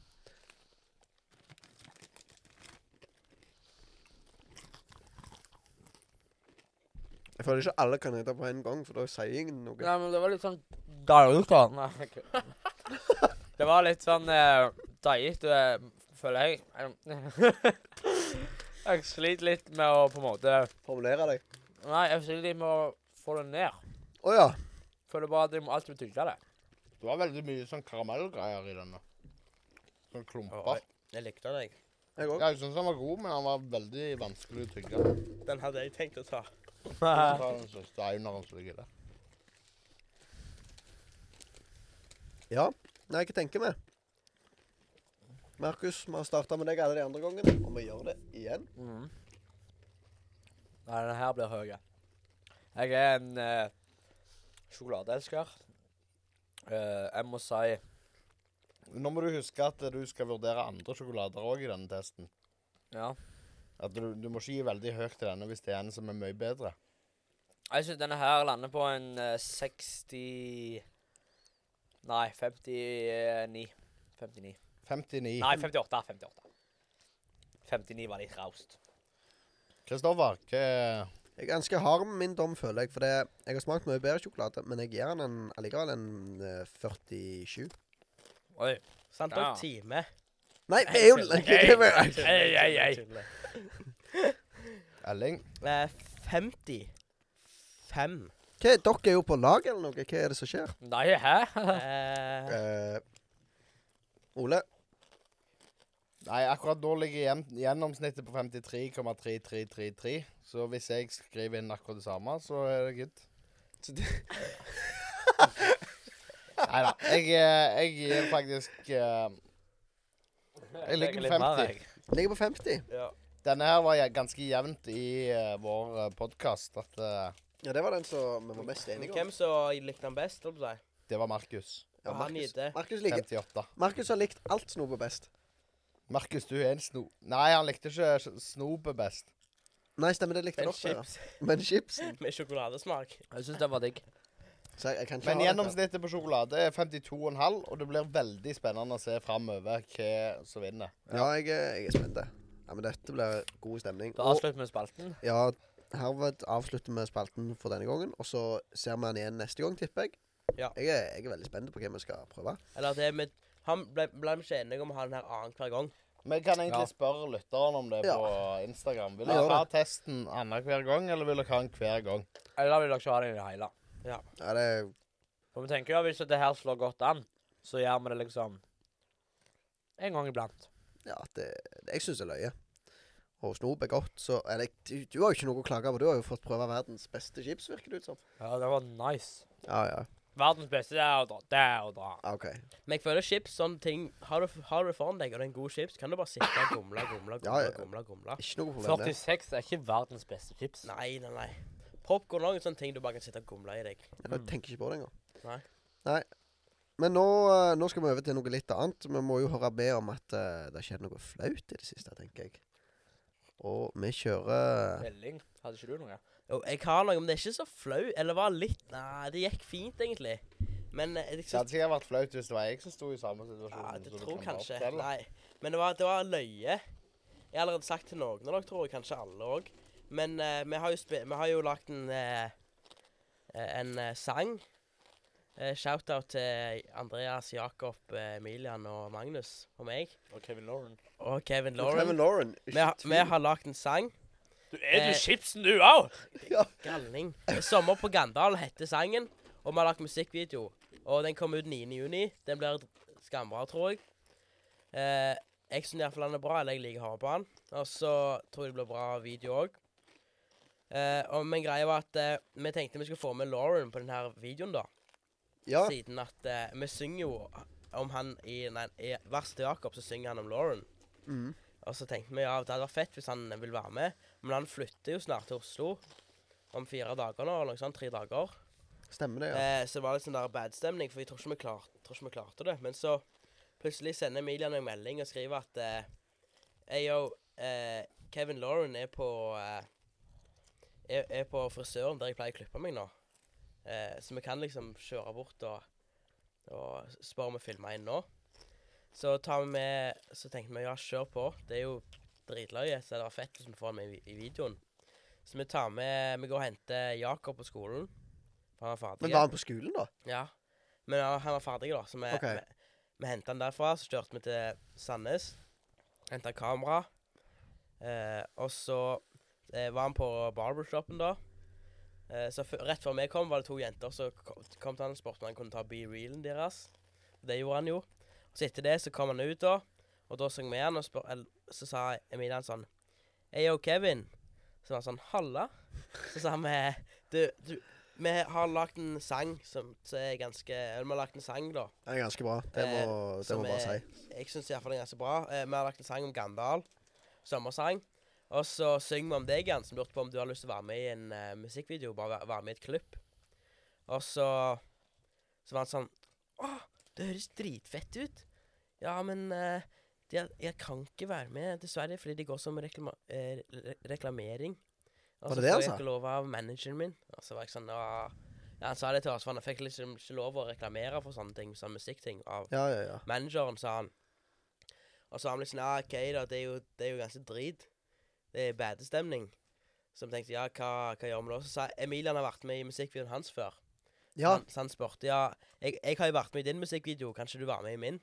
[SPEAKER 1] Jeg føler ikke alle kan hete på en gang, for da sier ingen noe.
[SPEAKER 2] Nei, men det var litt sånn deilig, da. Nei, ok. Det var litt sånn eh, deilig, du, eh, føler jeg. Jeg- Jeg sliter litt med å på en måte
[SPEAKER 1] Formulere deg.
[SPEAKER 2] Nei, jeg sliter litt med å få det ned.
[SPEAKER 1] Å ja.
[SPEAKER 2] Føler bare at jeg må alltid tygge det.
[SPEAKER 3] Det var veldig mye sånn karamellgreier i denne. Sånn
[SPEAKER 4] Oi,
[SPEAKER 3] klumper.
[SPEAKER 4] jeg likte den, jeg.
[SPEAKER 1] Jeg òg.
[SPEAKER 3] Ja, jeg syns den var god, men den var veldig vanskelig å tygge.
[SPEAKER 4] Den hadde jeg tenkt å ta.
[SPEAKER 3] Ta den siste eineren som ligger der.
[SPEAKER 1] Ja. Nei, hva tenker vi? Markus, vi har starta med deg alle de andre gangene, og vi gjør det igjen.
[SPEAKER 2] Mm. Nei, denne her blir høy. Jeg er en eh, sjokoladeelsker. Eh, jeg må si
[SPEAKER 3] Nå må du huske at du skal vurdere andre sjokolader òg i denne testen.
[SPEAKER 2] Ja.
[SPEAKER 3] At du, du må ikke gi veldig høyt til denne hvis det er en som er mye bedre.
[SPEAKER 2] Jeg syns denne her lander på en eh, 60 Nei, 59. 59.
[SPEAKER 3] 59.
[SPEAKER 2] Nei, 58. 58. 59 var litt raust.
[SPEAKER 3] Kristoffer, hva
[SPEAKER 1] Jeg er ganske hard med min dom, føler jeg, for det, jeg har smakt mye bedre sjokolade, men jeg gir den en, allikevel en eh, 47.
[SPEAKER 2] Oi.
[SPEAKER 4] Sant,
[SPEAKER 2] Ja.
[SPEAKER 4] og time.
[SPEAKER 1] Nei, vi er jo
[SPEAKER 2] Ei, ei, ei.
[SPEAKER 3] Elling?
[SPEAKER 4] Eh, 50. Fem.
[SPEAKER 1] Hva, Dere er jo på lag, eller noe? Hva er det som skjer?
[SPEAKER 2] Nei, hæ?
[SPEAKER 4] Eh,
[SPEAKER 1] Eh, Ole?
[SPEAKER 3] Nei, akkurat da ligger gjen- gjennomsnittet på 53,3333. Så hvis jeg skriver inn akkurat det samme, så er det good.
[SPEAKER 1] Så det-
[SPEAKER 3] Nei da. Jeg, eh, jeg gir faktisk eh, Jeg ligger på
[SPEAKER 2] litt mer,
[SPEAKER 3] 50.
[SPEAKER 2] jeg.
[SPEAKER 1] Ligger på 50.
[SPEAKER 4] ja.
[SPEAKER 3] Denne her var jeg ganske jevnt i eh, vår podkast at eh,
[SPEAKER 1] Ja, det var den som vi var mest enige om.
[SPEAKER 4] Hvem som likte han best, holdt på å si?
[SPEAKER 3] det var Markus.
[SPEAKER 1] Ja,
[SPEAKER 4] Og han
[SPEAKER 1] Markus-
[SPEAKER 4] gitt det.
[SPEAKER 1] Markus liker
[SPEAKER 3] 58.
[SPEAKER 1] Markus har likt alt snopet best.
[SPEAKER 3] Markus, du er en sno... Nei, han likte ikke s- snopet best.
[SPEAKER 1] Nei, stemmer, det likte han
[SPEAKER 4] En
[SPEAKER 1] også.
[SPEAKER 4] chips
[SPEAKER 1] ja. Men chips
[SPEAKER 4] med sjokoladesmak.
[SPEAKER 2] Jeg syns den var digg.
[SPEAKER 1] Så jeg, jeg kan ikke
[SPEAKER 3] Men
[SPEAKER 1] ha dette.
[SPEAKER 3] gjennomsnittet på sjokolade er 52,5, og det blir veldig spennende å se framover hva som vinner.
[SPEAKER 1] Ja, jeg, er- jeg er spent. Ja, men dette blir god stemning.
[SPEAKER 2] Da avslutter vi spalten.
[SPEAKER 1] ja, herved avslutter vi spalten for denne gangen, og så ser vi han igjen neste gang, tipper jeg.
[SPEAKER 4] Ja.
[SPEAKER 1] Jeg er, jeg er veldig spent på hva vi skal prøve.
[SPEAKER 4] Eller det med Han ble, ble vi ikke enige om å ha den her annenhver gang.
[SPEAKER 3] Vi kan egentlig
[SPEAKER 2] Ja.
[SPEAKER 3] spørre lytterne om det
[SPEAKER 1] Ja.
[SPEAKER 3] på Instagram. Vil
[SPEAKER 1] Ja,
[SPEAKER 3] dere
[SPEAKER 1] gjør
[SPEAKER 3] ha testen annenhver gang, eller vil dere ha den hver gang?
[SPEAKER 2] Eller vil dere ikke ha den i det hele?
[SPEAKER 1] Ja, det er
[SPEAKER 2] For vi tenker jo at hvis det her slår godt an, så gjør vi det liksom en gang iblant.
[SPEAKER 1] Ja, det, det, jeg syns det er løye. Og snop er godt, så Eller du, du har jo ikke noe å klage på. Du har jo fått prøve verdens beste chips, virker det ut som.
[SPEAKER 2] Ja, det var nice.
[SPEAKER 1] Ja, ja.
[SPEAKER 2] Verdens beste det er å dra. Det er å dra.
[SPEAKER 1] Ah, OK.
[SPEAKER 4] Men jeg føler chips sånne ting Har du, har du det foran deg, og det er en god chips, kan du bare sitte og gomle, gomle,
[SPEAKER 1] Ja, ja.
[SPEAKER 4] gomle, gomle, gomle.
[SPEAKER 1] Ikke noe problem, det.
[SPEAKER 2] 46 er ikke verdens beste chips.
[SPEAKER 4] Nei, nei, nei. Popkorn er en sånn ting du bare kan sitte og gomle i deg.
[SPEAKER 1] Jeg tenker ikke på det engang.
[SPEAKER 4] Nei.
[SPEAKER 1] Nei. Men nå, eh, nå skal vi over til noe litt annet. Vi må jo høre med om at eh, det har skjedd noe flaut i det siste, tenker jeg. Og vi
[SPEAKER 4] Eh,
[SPEAKER 1] kjører
[SPEAKER 2] Elling, hadde ikke du noe?
[SPEAKER 4] Jo, jeg har noe, men det er ikke så flau. Eller var litt Nei, det gikk fint, egentlig. Men eh, jeg
[SPEAKER 3] Det
[SPEAKER 4] synes
[SPEAKER 3] hadde sikkert vært flaut hvis det var jeg som sto i samme situasjon.
[SPEAKER 4] Ja, det
[SPEAKER 3] så du
[SPEAKER 4] tror
[SPEAKER 3] kan bare
[SPEAKER 4] kanskje.
[SPEAKER 3] fortelle.
[SPEAKER 4] Nei. Men det var, det var løye. Jeg har allerede sagt til noen av dere, tror jeg. Kanskje alle òg. Men eh, vi har jo, spe- vi har jo lagt en, eh, eh, en eh, sang. Eh, Shout-out til Andreas, Jakob, eh, Emilian og Magnus og meg.
[SPEAKER 2] Og Kevin Lauren.
[SPEAKER 4] Og Kevin
[SPEAKER 1] Kevin
[SPEAKER 4] Lauren.
[SPEAKER 1] Lauren.
[SPEAKER 4] Vi, har- vi har lagd en sang.
[SPEAKER 2] Du er
[SPEAKER 4] Eh.
[SPEAKER 2] du chipsen, du òg?
[SPEAKER 4] Galning. 'Sommer på Gandal' heter sangen, og vi har lagt musikkvideo. Og den kom ut 9. juni. Den blir skambra, tror jeg. Eh, Jeg syns iallfall han er bra, eller jeg liker harde på han. Og så tror jeg det blir bra video òg. Eh, og- men greia var at eh, vi tenkte vi skulle få med Lauren på denne videoen, da.
[SPEAKER 1] Ja,
[SPEAKER 4] Siden at eh, vi synger jo om han i, nei, i verset til Jakob, så synger han om Lauren.
[SPEAKER 1] mm.
[SPEAKER 4] Og så tenkte vi ja, det hadde vært fett hvis han ville være med, men han flytter jo snart til Oslo. Om fire dager nå, eller noe sånt. Tre dager.
[SPEAKER 1] stemmer det. ja.
[SPEAKER 4] Eh, så det var litt sånn der bad stemning, for jeg tror ikke vi, klart, tror ikke vi klarte det. Men så plutselig sender Emilian en melding og skriver at eh, «Hey, yo, eh, Kevin Lauren er på, eh, er, er på frisøren der jeg pleier å klippe meg nå. Eh, så vi kan liksom kjøre bort og, og spørre om å filme inn nå. Så tar vi med, så tenkte vi ja, kjør på. Det er jo dritløye, så det var fett hvis vi får han med i, vi- i videoen. Så vi tar med, vi går og henter Jakob på skolen. For han er ferdig.
[SPEAKER 1] Men var han på skolen, da?
[SPEAKER 4] Ja. Men ja, han var ferdig, da. Så vi,
[SPEAKER 1] Ok.
[SPEAKER 4] vi, vi henta han derfra. Så kjørte vi til Sandnes. Henta kamera. Eh, og så eh, var han på barbershopen, da. Eh, så f rett før vi kom, var det to jenter som kom, kom til han og spurte om han kunne ta be-reelen deres. Det gjorde han jo. Og så etter det så kom han ut, da. Og da sang vi han, og spør, eller, så sa Emilia han sånn Hey, yo, Kevin. Så var han sånn Halla. Så sa vi Du, du vi har lagd en sang som som er ganske eller Vi har lagd en sang, da.
[SPEAKER 1] Det er ganske bra. Det må,
[SPEAKER 4] Eh,
[SPEAKER 1] det
[SPEAKER 4] som
[SPEAKER 1] må bare
[SPEAKER 4] er-
[SPEAKER 1] si.
[SPEAKER 4] Jeg syns iallfall den er ganske bra. Eh, vi har lagd en sang om Gandal. Sommersang. Og så synger vi om deg igjen, som lurte på om du har lyst til å være med i en eh, musikkvideo. Bare være, være med i et klipp. Og så Så var han sånn Å, det høres dritfett ut. Ja, men eh, de, jeg kan ikke være med, dessverre, fordi det går som reklama, eh, re reklamering. Og
[SPEAKER 1] Var
[SPEAKER 4] så
[SPEAKER 1] det altså? det han
[SPEAKER 4] får jeg
[SPEAKER 1] sa?
[SPEAKER 4] ikke lov av manageren min. Og så var jeg sånn «Åh». ja, Han sa det til oss, for han fikk liksom ikke lov å reklamere for sånne ting, sånne musikkting, av
[SPEAKER 1] Ja, ja, ja.
[SPEAKER 4] manageren, sa han. Og så var han liksom Ja, OK, da, det er jo, det er jo ganske drit. Det er badestemning. Så vi tenkte ja, hva, hva gjør vi da? Så sa Emilian har vært med i musikkvideoen hans før.
[SPEAKER 1] Ja,
[SPEAKER 4] Så han, så han spurte ja, jeg, jeg har jo vært med i din musikkvideo, kan ikke du være med i min?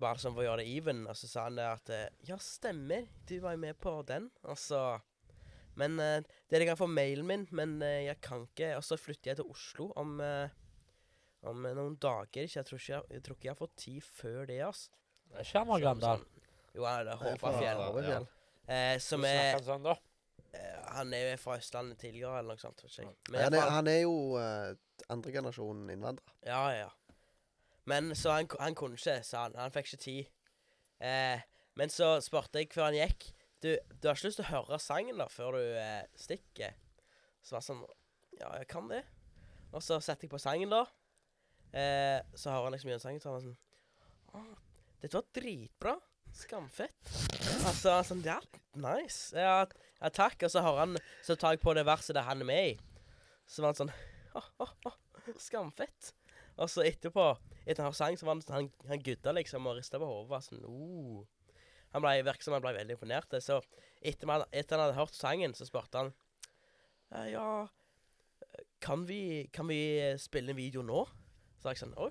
[SPEAKER 4] Bare sånn for å gjøre det even. Og så sa han det at eh, ja, stemmer, du var jo med på den. Og så Men eh, det er jeg kan få mailen min, men eh, jeg kan ikke. Og så flytter jeg til Oslo om, eh, om eh, noen dager, så jeg tror ikke jeg, jeg, tror ikke jeg har fått tid før det, ass.
[SPEAKER 2] Er ikke han fra Gandal?
[SPEAKER 4] Jo, han er det,
[SPEAKER 1] det er fra
[SPEAKER 4] Håpafjell.
[SPEAKER 1] Håvardfjell.
[SPEAKER 4] Eh, som er
[SPEAKER 2] Snakker han sånn, da?
[SPEAKER 4] eh, Han er jo fra Østlandet tidligere, eller noe sånt. Vet ikke jeg. Men i
[SPEAKER 1] Han,
[SPEAKER 4] alle
[SPEAKER 1] er-
[SPEAKER 4] fall-
[SPEAKER 1] han er jo eh, andregenerasjon innvandrer.
[SPEAKER 4] Ja, ja. Men så han, han kunne ikke, sa han. Han fikk ikke tid. Eh, men så spurte jeg før han gikk Du, du har ikke lyst til å høre sangen da før du eh, stikker? Så var han sånn Ja, jeg kan det. Og så setter jeg på sangen, da. Eh, så hører han liksom gjennom sangen, så er han sånn «Å, Dette var dritbra. Skamfett. Altså, han sånn Ja, nice. Ja, ja, takk. Og så hører han Så tar jeg på det verset der han er med i. Så var han sånn Å, å, å. Skamfett. Og så etterpå, etter han sang, så var han, sånn, han, han gudda liksom og rista på hodet. var Sånn, oh. Han ble virket som han ble veldig imponert. Så etter, man, etter han hadde hørt sangen, så spurte han «Eh, Ja, kan vi, kan vi eh, spille en video nå? Så var jeg sånn Oi.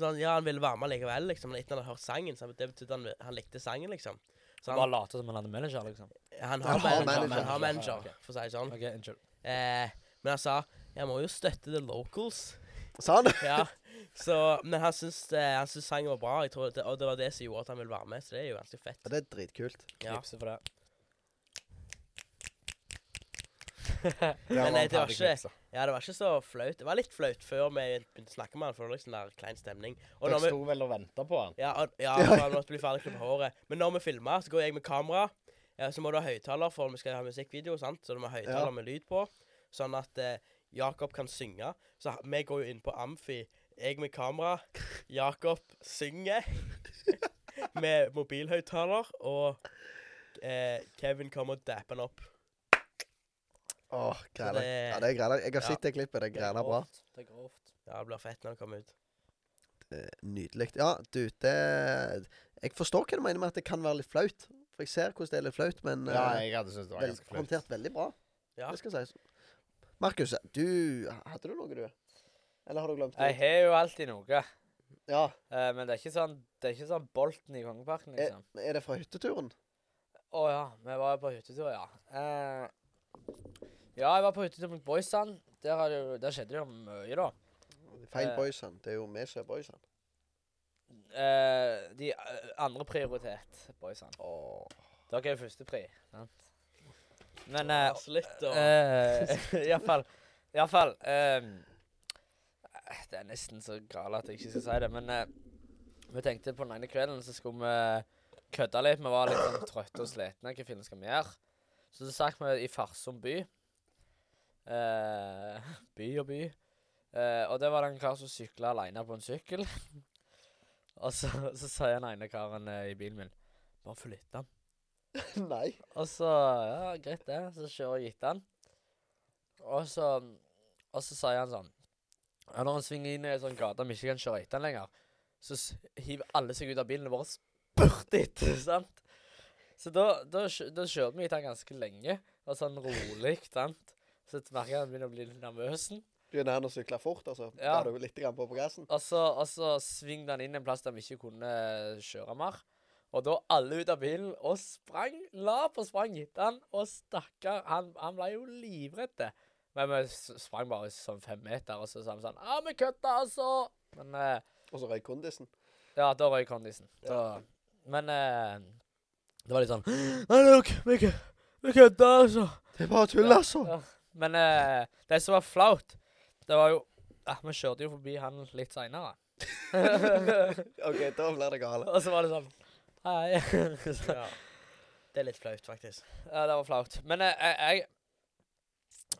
[SPEAKER 4] Så han, ja, han ville være med likevel, liksom. Men etter han hadde hørt sangen, så det betydde han, han likte sangen, liksom. Så
[SPEAKER 2] Så
[SPEAKER 4] han,
[SPEAKER 2] bare late som han hadde manager, liksom?
[SPEAKER 4] han
[SPEAKER 1] Han
[SPEAKER 4] har
[SPEAKER 1] har
[SPEAKER 4] manager,
[SPEAKER 1] manager.
[SPEAKER 4] han har
[SPEAKER 2] Ja,
[SPEAKER 4] manager,
[SPEAKER 2] ok.
[SPEAKER 4] for å si det sånn.
[SPEAKER 2] OK, unnskyld.
[SPEAKER 4] Eh, men han sa Jeg må jo støtte the locals.
[SPEAKER 1] Sa han det?
[SPEAKER 4] Ja, så, men han syns, eh, han syns sangen var bra, jeg tror, det, og det var det som gjorde at han ville være med. Så det er jo ganske fett.
[SPEAKER 1] Ja, det er dritkult.
[SPEAKER 4] Ja.
[SPEAKER 2] Knipse for det.
[SPEAKER 4] Men eh, det var ikke Ja, det var ikke så flaut. Det var litt flaut før vi begynte å snakke med han, for det var liksom der klein stemning. Og
[SPEAKER 3] Dere
[SPEAKER 4] når vi,
[SPEAKER 3] sto vel og venta på han.
[SPEAKER 4] ja, og, ja, for han måtte bli ferdig klippet håret. Men når vi filma, så går jeg med kamera. Ja, så må du ha høyttaler, for vi skal ha musikkvideo, sant? så du må ha høyttaler
[SPEAKER 1] Ja.
[SPEAKER 4] med lyd på. Sånn at eh, Jakob kan synge. Så ha- vi går jo inn på Amfi. Jeg med kamera. Jakob synger med mobilhøyttaler. Og eh, Kevin kommer og dapper han opp.
[SPEAKER 1] Åh, græla.
[SPEAKER 4] det-
[SPEAKER 1] Ja, det er græla. Jeg har
[SPEAKER 4] Ja.
[SPEAKER 1] sett det klippet. Det er græla bra.
[SPEAKER 2] Det er grovt.
[SPEAKER 4] Ja, det blir fett når det kommer ut.
[SPEAKER 1] Eh, Nydelig. Ja, du, det Jeg forstår hva du mener med at det kan være litt flaut. For jeg ser hvordan det er litt flaut, men
[SPEAKER 3] Ja,
[SPEAKER 1] eh,
[SPEAKER 3] jeg hadde syntes det var
[SPEAKER 1] vel,
[SPEAKER 3] ganske flaut.
[SPEAKER 1] håndtert veldig bra.
[SPEAKER 4] Ja.
[SPEAKER 1] Det skal sies. Markus, du Hadde du noe, du? Eller har du glemt
[SPEAKER 2] Jeg
[SPEAKER 1] det?
[SPEAKER 2] har jo alltid noe.
[SPEAKER 1] Ja.
[SPEAKER 2] eh, men det er ikke sånn Det er ikke sånn Bolten i Kongeparken,
[SPEAKER 1] Er,
[SPEAKER 2] liksom.
[SPEAKER 1] er det fra hytteturen?
[SPEAKER 2] Å ja, vi var jo på hyttetur, ja. Eh, ja, jeg var på hyttetur med boysene. Der, har det jo- der skjedde det jo mye, da.
[SPEAKER 1] Feil
[SPEAKER 2] Eh.
[SPEAKER 1] boysen. Det er jo vi som er boysen.
[SPEAKER 2] eh, de eh, andre prioritet, boysene.
[SPEAKER 1] Åh.
[SPEAKER 2] Dere er førstepri. Men eh,
[SPEAKER 4] Absolutt. Og
[SPEAKER 2] eh, Iallfall. Iallfall ehm, Det er nesten så galt at jeg ikke skal si det, men eh, vi tenkte på den ene kvelden så skulle vi kødde litt. Vi var litt sånn trøtte og slitne. Hva filmen skal vi gjøre? Så så stakk vi i Farsund by. Eh, by og by. Eh, og det var det en kar som sykla aleine på en sykkel. og så, så sier den ene karen eh, i bilen min Bare flytt den.
[SPEAKER 1] Nei.
[SPEAKER 2] Og så Ja, greit det. Så kjører jeg etter han. Og så Og så sier han sånn ja, Når han svinger inn i en sånn gate vi ikke kan kjøre etter han lenger, så s- hiver alle seg ut av bilen og bare spurter etter, sant? Så da, da, kjø- da kjørte vi etter han ganske lenge, og sånn rolig, sant? Så merker jeg han begynner å bli litt nervøs.
[SPEAKER 1] Begynner han å sykle fort, altså? Ja.
[SPEAKER 2] Ja.
[SPEAKER 1] Da er du litt grann på på gassen?
[SPEAKER 2] Og så, og så svingte han inn en plass der vi ikke kunne eh, kjøre mer. Og da alle ut av bilen og sprang, la på sprang etter han, og stakkar, han, han ble jo livredd. det. Men vi s- sprang bare sånn fem meter, og så sa han sånn Ja, vi kødda, altså! Men eh,
[SPEAKER 1] Og så røyk kondisen.
[SPEAKER 2] Ja, da røyk kondisen. Da, men eh, det var litt sånn Nei, look, vi kø- vi kødda, altså.
[SPEAKER 1] Det er bare tull, altså!
[SPEAKER 2] Ja. Men eh, det som var flaut, det var jo ja, Vi kjørte jo forbi han litt seinere.
[SPEAKER 1] OK, da blir det gale.
[SPEAKER 2] Og så var det sånn Hei. Så,
[SPEAKER 4] ja. Det er litt flaut, faktisk.
[SPEAKER 2] ja, det var flaut. Men eh, jeg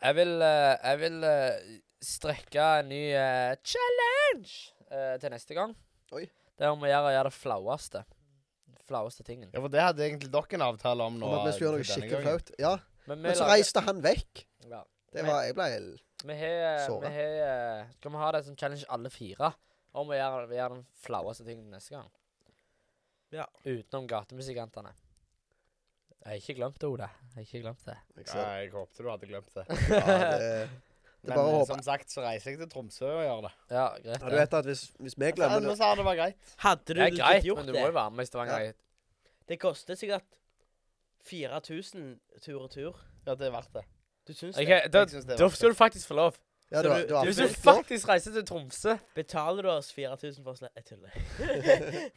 [SPEAKER 2] Jeg, jeg vil eh, Jeg vil eh, strekke en ny eh, challenge eh, til neste gang.
[SPEAKER 1] Oi.
[SPEAKER 2] Det er om å gjøre å gjøre det flaueste. Flaueste tingen.
[SPEAKER 3] Ja, for det hadde egentlig dere en avtale om nå.
[SPEAKER 1] Om at vi skulle gjøre
[SPEAKER 3] eh,
[SPEAKER 1] noe
[SPEAKER 3] denne
[SPEAKER 1] skikkelig
[SPEAKER 3] gangen.
[SPEAKER 1] flaut. Ja.
[SPEAKER 2] Men
[SPEAKER 1] Men så reiste han vekk.
[SPEAKER 2] ja.
[SPEAKER 1] Det var Jeg ble
[SPEAKER 2] Vi har
[SPEAKER 1] Såre.
[SPEAKER 2] vi har, eh, Skal vi ha det som challenge alle fire? Om å gjøre, vi gjør den flaueste tingen neste gang.
[SPEAKER 4] Ja.
[SPEAKER 2] Utenom gatemusikantene. Jeg har ikke glemt det, Ole. Jeg har ikke glemt det.
[SPEAKER 1] jeg
[SPEAKER 3] Ja,
[SPEAKER 1] ser.
[SPEAKER 3] jeg håpte du hadde glemt det.
[SPEAKER 1] Ja, liksom, det, det er
[SPEAKER 3] Men
[SPEAKER 1] bare å
[SPEAKER 3] eh,
[SPEAKER 1] håpe.
[SPEAKER 3] som sagt så reiser jeg til Tromsø og gjør det.
[SPEAKER 2] Ja, greit.
[SPEAKER 1] Ja,
[SPEAKER 2] det.
[SPEAKER 1] du vet at hvis, hvis vi glemmer
[SPEAKER 3] Men
[SPEAKER 1] det
[SPEAKER 3] så hadde det vært greit.
[SPEAKER 4] Hadde du
[SPEAKER 2] Det er
[SPEAKER 4] legit
[SPEAKER 2] greit,
[SPEAKER 4] gjort
[SPEAKER 2] men du
[SPEAKER 4] det
[SPEAKER 2] må jo være med i Stavanger. Ja.
[SPEAKER 4] Det koster sikkert 4000 tur og tur.
[SPEAKER 3] Ja, det er verdt det.
[SPEAKER 4] Du syns
[SPEAKER 2] Okay,
[SPEAKER 4] det?
[SPEAKER 2] da,
[SPEAKER 3] Jeg synes det er
[SPEAKER 2] da
[SPEAKER 3] verdt
[SPEAKER 2] skal du faktisk få lov.
[SPEAKER 1] Ja, du,
[SPEAKER 4] Så du-
[SPEAKER 1] du har
[SPEAKER 2] Hvis
[SPEAKER 1] fullt
[SPEAKER 2] du
[SPEAKER 1] lov.
[SPEAKER 2] faktisk reiser til Tromsø
[SPEAKER 4] Betaler du oss 4000 for å slette Jeg tuller.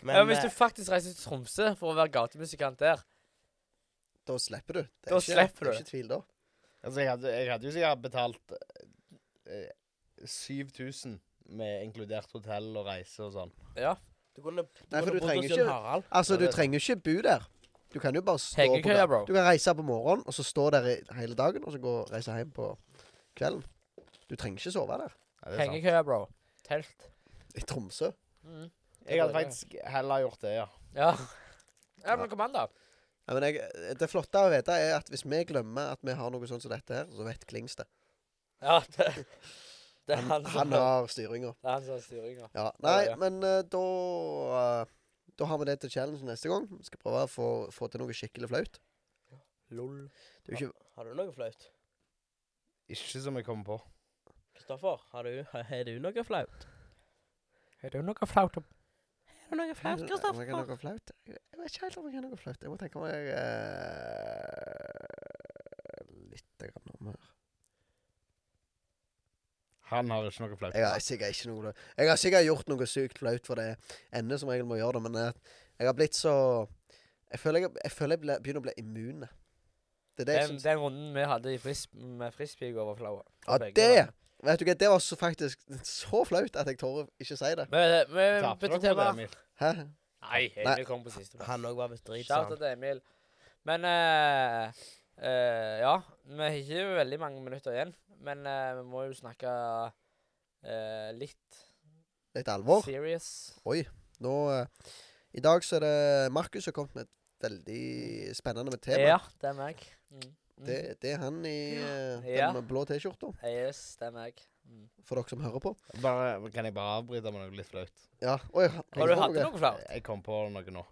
[SPEAKER 4] Men,
[SPEAKER 2] ja, Hvis du
[SPEAKER 4] eh,
[SPEAKER 2] faktisk reiser til Tromsø for å være gatemusikant der
[SPEAKER 1] Da slipper du. Det er
[SPEAKER 2] Da
[SPEAKER 1] ikke,
[SPEAKER 2] slipper
[SPEAKER 1] det
[SPEAKER 2] du.
[SPEAKER 1] er ikke tvil, da.
[SPEAKER 3] Altså, jeg hadde, jeg hadde jo sikkert betalt eh, 7000 med inkludert hotell og reise og sånn.
[SPEAKER 2] Ja.
[SPEAKER 4] du kunne, du
[SPEAKER 1] Nei, for du
[SPEAKER 4] kunne bodd
[SPEAKER 1] trenger
[SPEAKER 4] hos
[SPEAKER 1] ikke-
[SPEAKER 4] Jon Harald.
[SPEAKER 1] Altså,
[SPEAKER 3] Ja,
[SPEAKER 1] du
[SPEAKER 3] det er
[SPEAKER 1] trenger ikke bo der. Du kan jo bare stå på
[SPEAKER 2] Hengekøya,
[SPEAKER 1] der.
[SPEAKER 2] bro.
[SPEAKER 1] Du kan reise på morgenen, og så stå der i, hele dagen, og så gå reise hjem på kvelden. Du trenger ikke sove der.
[SPEAKER 3] Ja, det er sant.
[SPEAKER 2] Hengekøye, bro. Telt.
[SPEAKER 1] I Tromsø.
[SPEAKER 2] Mm.
[SPEAKER 3] Jeg hadde faktisk heller gjort det, ja.
[SPEAKER 2] Ja. ja, men kom an, da.
[SPEAKER 1] Ja, men jeg, det flotte å vite er at hvis vi glemmer at vi har noe sånt som dette her, så vet Klings det.
[SPEAKER 2] Ja, det, det er
[SPEAKER 1] Han,
[SPEAKER 2] han som
[SPEAKER 1] han har styringa.
[SPEAKER 2] det er han som har styringa.
[SPEAKER 1] Ja. Nei,
[SPEAKER 2] Ja, ja.
[SPEAKER 1] men eh, da eh, Da har vi det til challenge neste gang. Vi skal prøve å få, få til noe skikkelig flaut.
[SPEAKER 2] Lol.
[SPEAKER 1] Det er jo ikke
[SPEAKER 4] Har du noe flaut?
[SPEAKER 3] Ikke som jeg kommer på.
[SPEAKER 4] Kristoffer, har du, har du noe flaut?
[SPEAKER 2] Er det noe flaut om
[SPEAKER 4] Har du noe
[SPEAKER 1] Om
[SPEAKER 4] flaut,
[SPEAKER 1] jeg har
[SPEAKER 4] Kristoffer?
[SPEAKER 1] noe flaut? Jeg jeg vet ikke helt om jeg har noe flaut. Jeg må tenke meg uh, litt grann om eh, her.
[SPEAKER 3] Han har ikke noe flaut.
[SPEAKER 1] Jeg har sikkert ikke noe Jeg har sikkert gjort noe sykt flaut, for det ender som regel med å gjøre det, men eh, jeg har blitt så Jeg føler jeg, jeg, føler jeg ble, begynner å bli immune. Det er det jeg
[SPEAKER 2] den,
[SPEAKER 1] syns.
[SPEAKER 2] den runden vi hadde i fris, med frisbee, går over flaua.
[SPEAKER 1] Ja,
[SPEAKER 2] Begge
[SPEAKER 1] det
[SPEAKER 2] veier.
[SPEAKER 1] Vet du hva, det var så faktisk så flaut at jeg tør ikke si det.
[SPEAKER 2] Vi, vi
[SPEAKER 3] Tapte
[SPEAKER 2] bytter
[SPEAKER 3] dere på det,
[SPEAKER 2] eh, tema.
[SPEAKER 3] Emil?
[SPEAKER 1] Hæ?
[SPEAKER 2] Nei,
[SPEAKER 1] Nei.
[SPEAKER 2] Emil kom på siste. plass.
[SPEAKER 4] Han òg var bedrit, sa
[SPEAKER 2] Shout out
[SPEAKER 4] han.
[SPEAKER 2] til Emil. Men eh, eh, Ja, vi har ikke veldig mange minutter igjen. Men eh, vi må jo snakke eh, litt
[SPEAKER 1] Litt alvor.
[SPEAKER 2] serious.
[SPEAKER 1] Nå eh, I dag så er det Markus som har kommet med et veldig spennende tema.
[SPEAKER 2] Ja, det er meg. Mm. Mm.
[SPEAKER 1] Det, det er han i eh, den
[SPEAKER 2] Ja.
[SPEAKER 1] blå T-skjorta,
[SPEAKER 2] Yes, det er meg. Mm.
[SPEAKER 1] for dere som hører på.
[SPEAKER 3] Bare, kan jeg bare avbryte med noe litt flaut?
[SPEAKER 1] Ja. Oi, har
[SPEAKER 2] Har du hatt noe flaut?
[SPEAKER 3] Jeg kom på noe nå.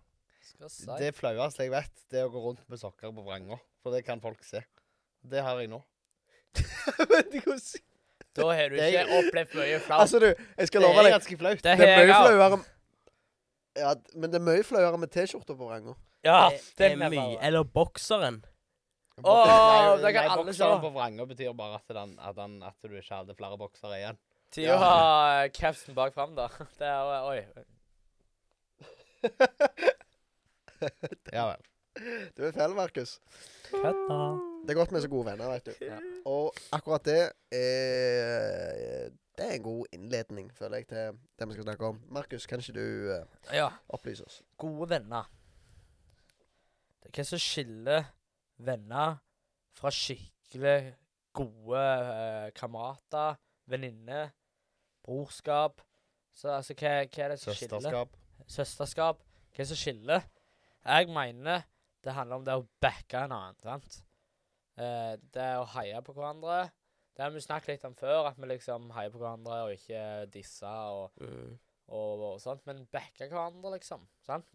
[SPEAKER 2] Skal si.
[SPEAKER 3] Det flaueste jeg vet, det er å gå rundt med sokker på vranga. For det kan folk se. Det har jeg nå.
[SPEAKER 2] Da har du
[SPEAKER 3] det-
[SPEAKER 2] ikke opplevd mye flaut.
[SPEAKER 1] Altså, du, jeg skal
[SPEAKER 3] Det
[SPEAKER 1] love
[SPEAKER 3] er
[SPEAKER 1] deg.
[SPEAKER 3] ganske flaut.
[SPEAKER 2] det
[SPEAKER 1] Det er
[SPEAKER 2] har jeg
[SPEAKER 1] mye
[SPEAKER 2] òg.
[SPEAKER 1] flauere ja, men det er mye flauere med T-skjorta på vranga.
[SPEAKER 2] Ja,
[SPEAKER 4] Det
[SPEAKER 2] den
[SPEAKER 4] er
[SPEAKER 2] er
[SPEAKER 4] mye.
[SPEAKER 2] bare-
[SPEAKER 4] Eller bokseren.
[SPEAKER 2] Åh,
[SPEAKER 3] Nei,
[SPEAKER 2] det kan
[SPEAKER 3] nei,
[SPEAKER 2] alle
[SPEAKER 3] bokseren
[SPEAKER 2] se.
[SPEAKER 3] på vranga betyr bare at, den, at, den, at du ikke hadde flere boksere igjen.
[SPEAKER 2] eh, Til å ha capsen bak fram, da. Det er, oi.
[SPEAKER 3] Ja vel.
[SPEAKER 1] Du er feil, Markus.
[SPEAKER 2] Kødda.
[SPEAKER 1] Det er godt med så gode venner, vet du.
[SPEAKER 2] Ja.
[SPEAKER 1] Og akkurat det er Det er en god innledning, føler jeg, til det vi skal snakke om. Markus, kan ikke du eh,
[SPEAKER 2] Ja.
[SPEAKER 1] opplyse oss?
[SPEAKER 2] Gode venner. Det er hva som skiller venner fra skikkelig gode eh, kamerater, venninner, brorskap Så altså, hva, hva er det som skiller?
[SPEAKER 3] Søsterskap.
[SPEAKER 2] Søsterskap. Hva er det som skiller? Jeg mener det handler om det å backe en annen, sant? Eh, det å heie på hverandre. Det har vi snakket litt om før, at vi liksom heier på hverandre og ikke disser og
[SPEAKER 4] Mm.
[SPEAKER 2] og, og sånt, men backa hverandre, liksom. Sant?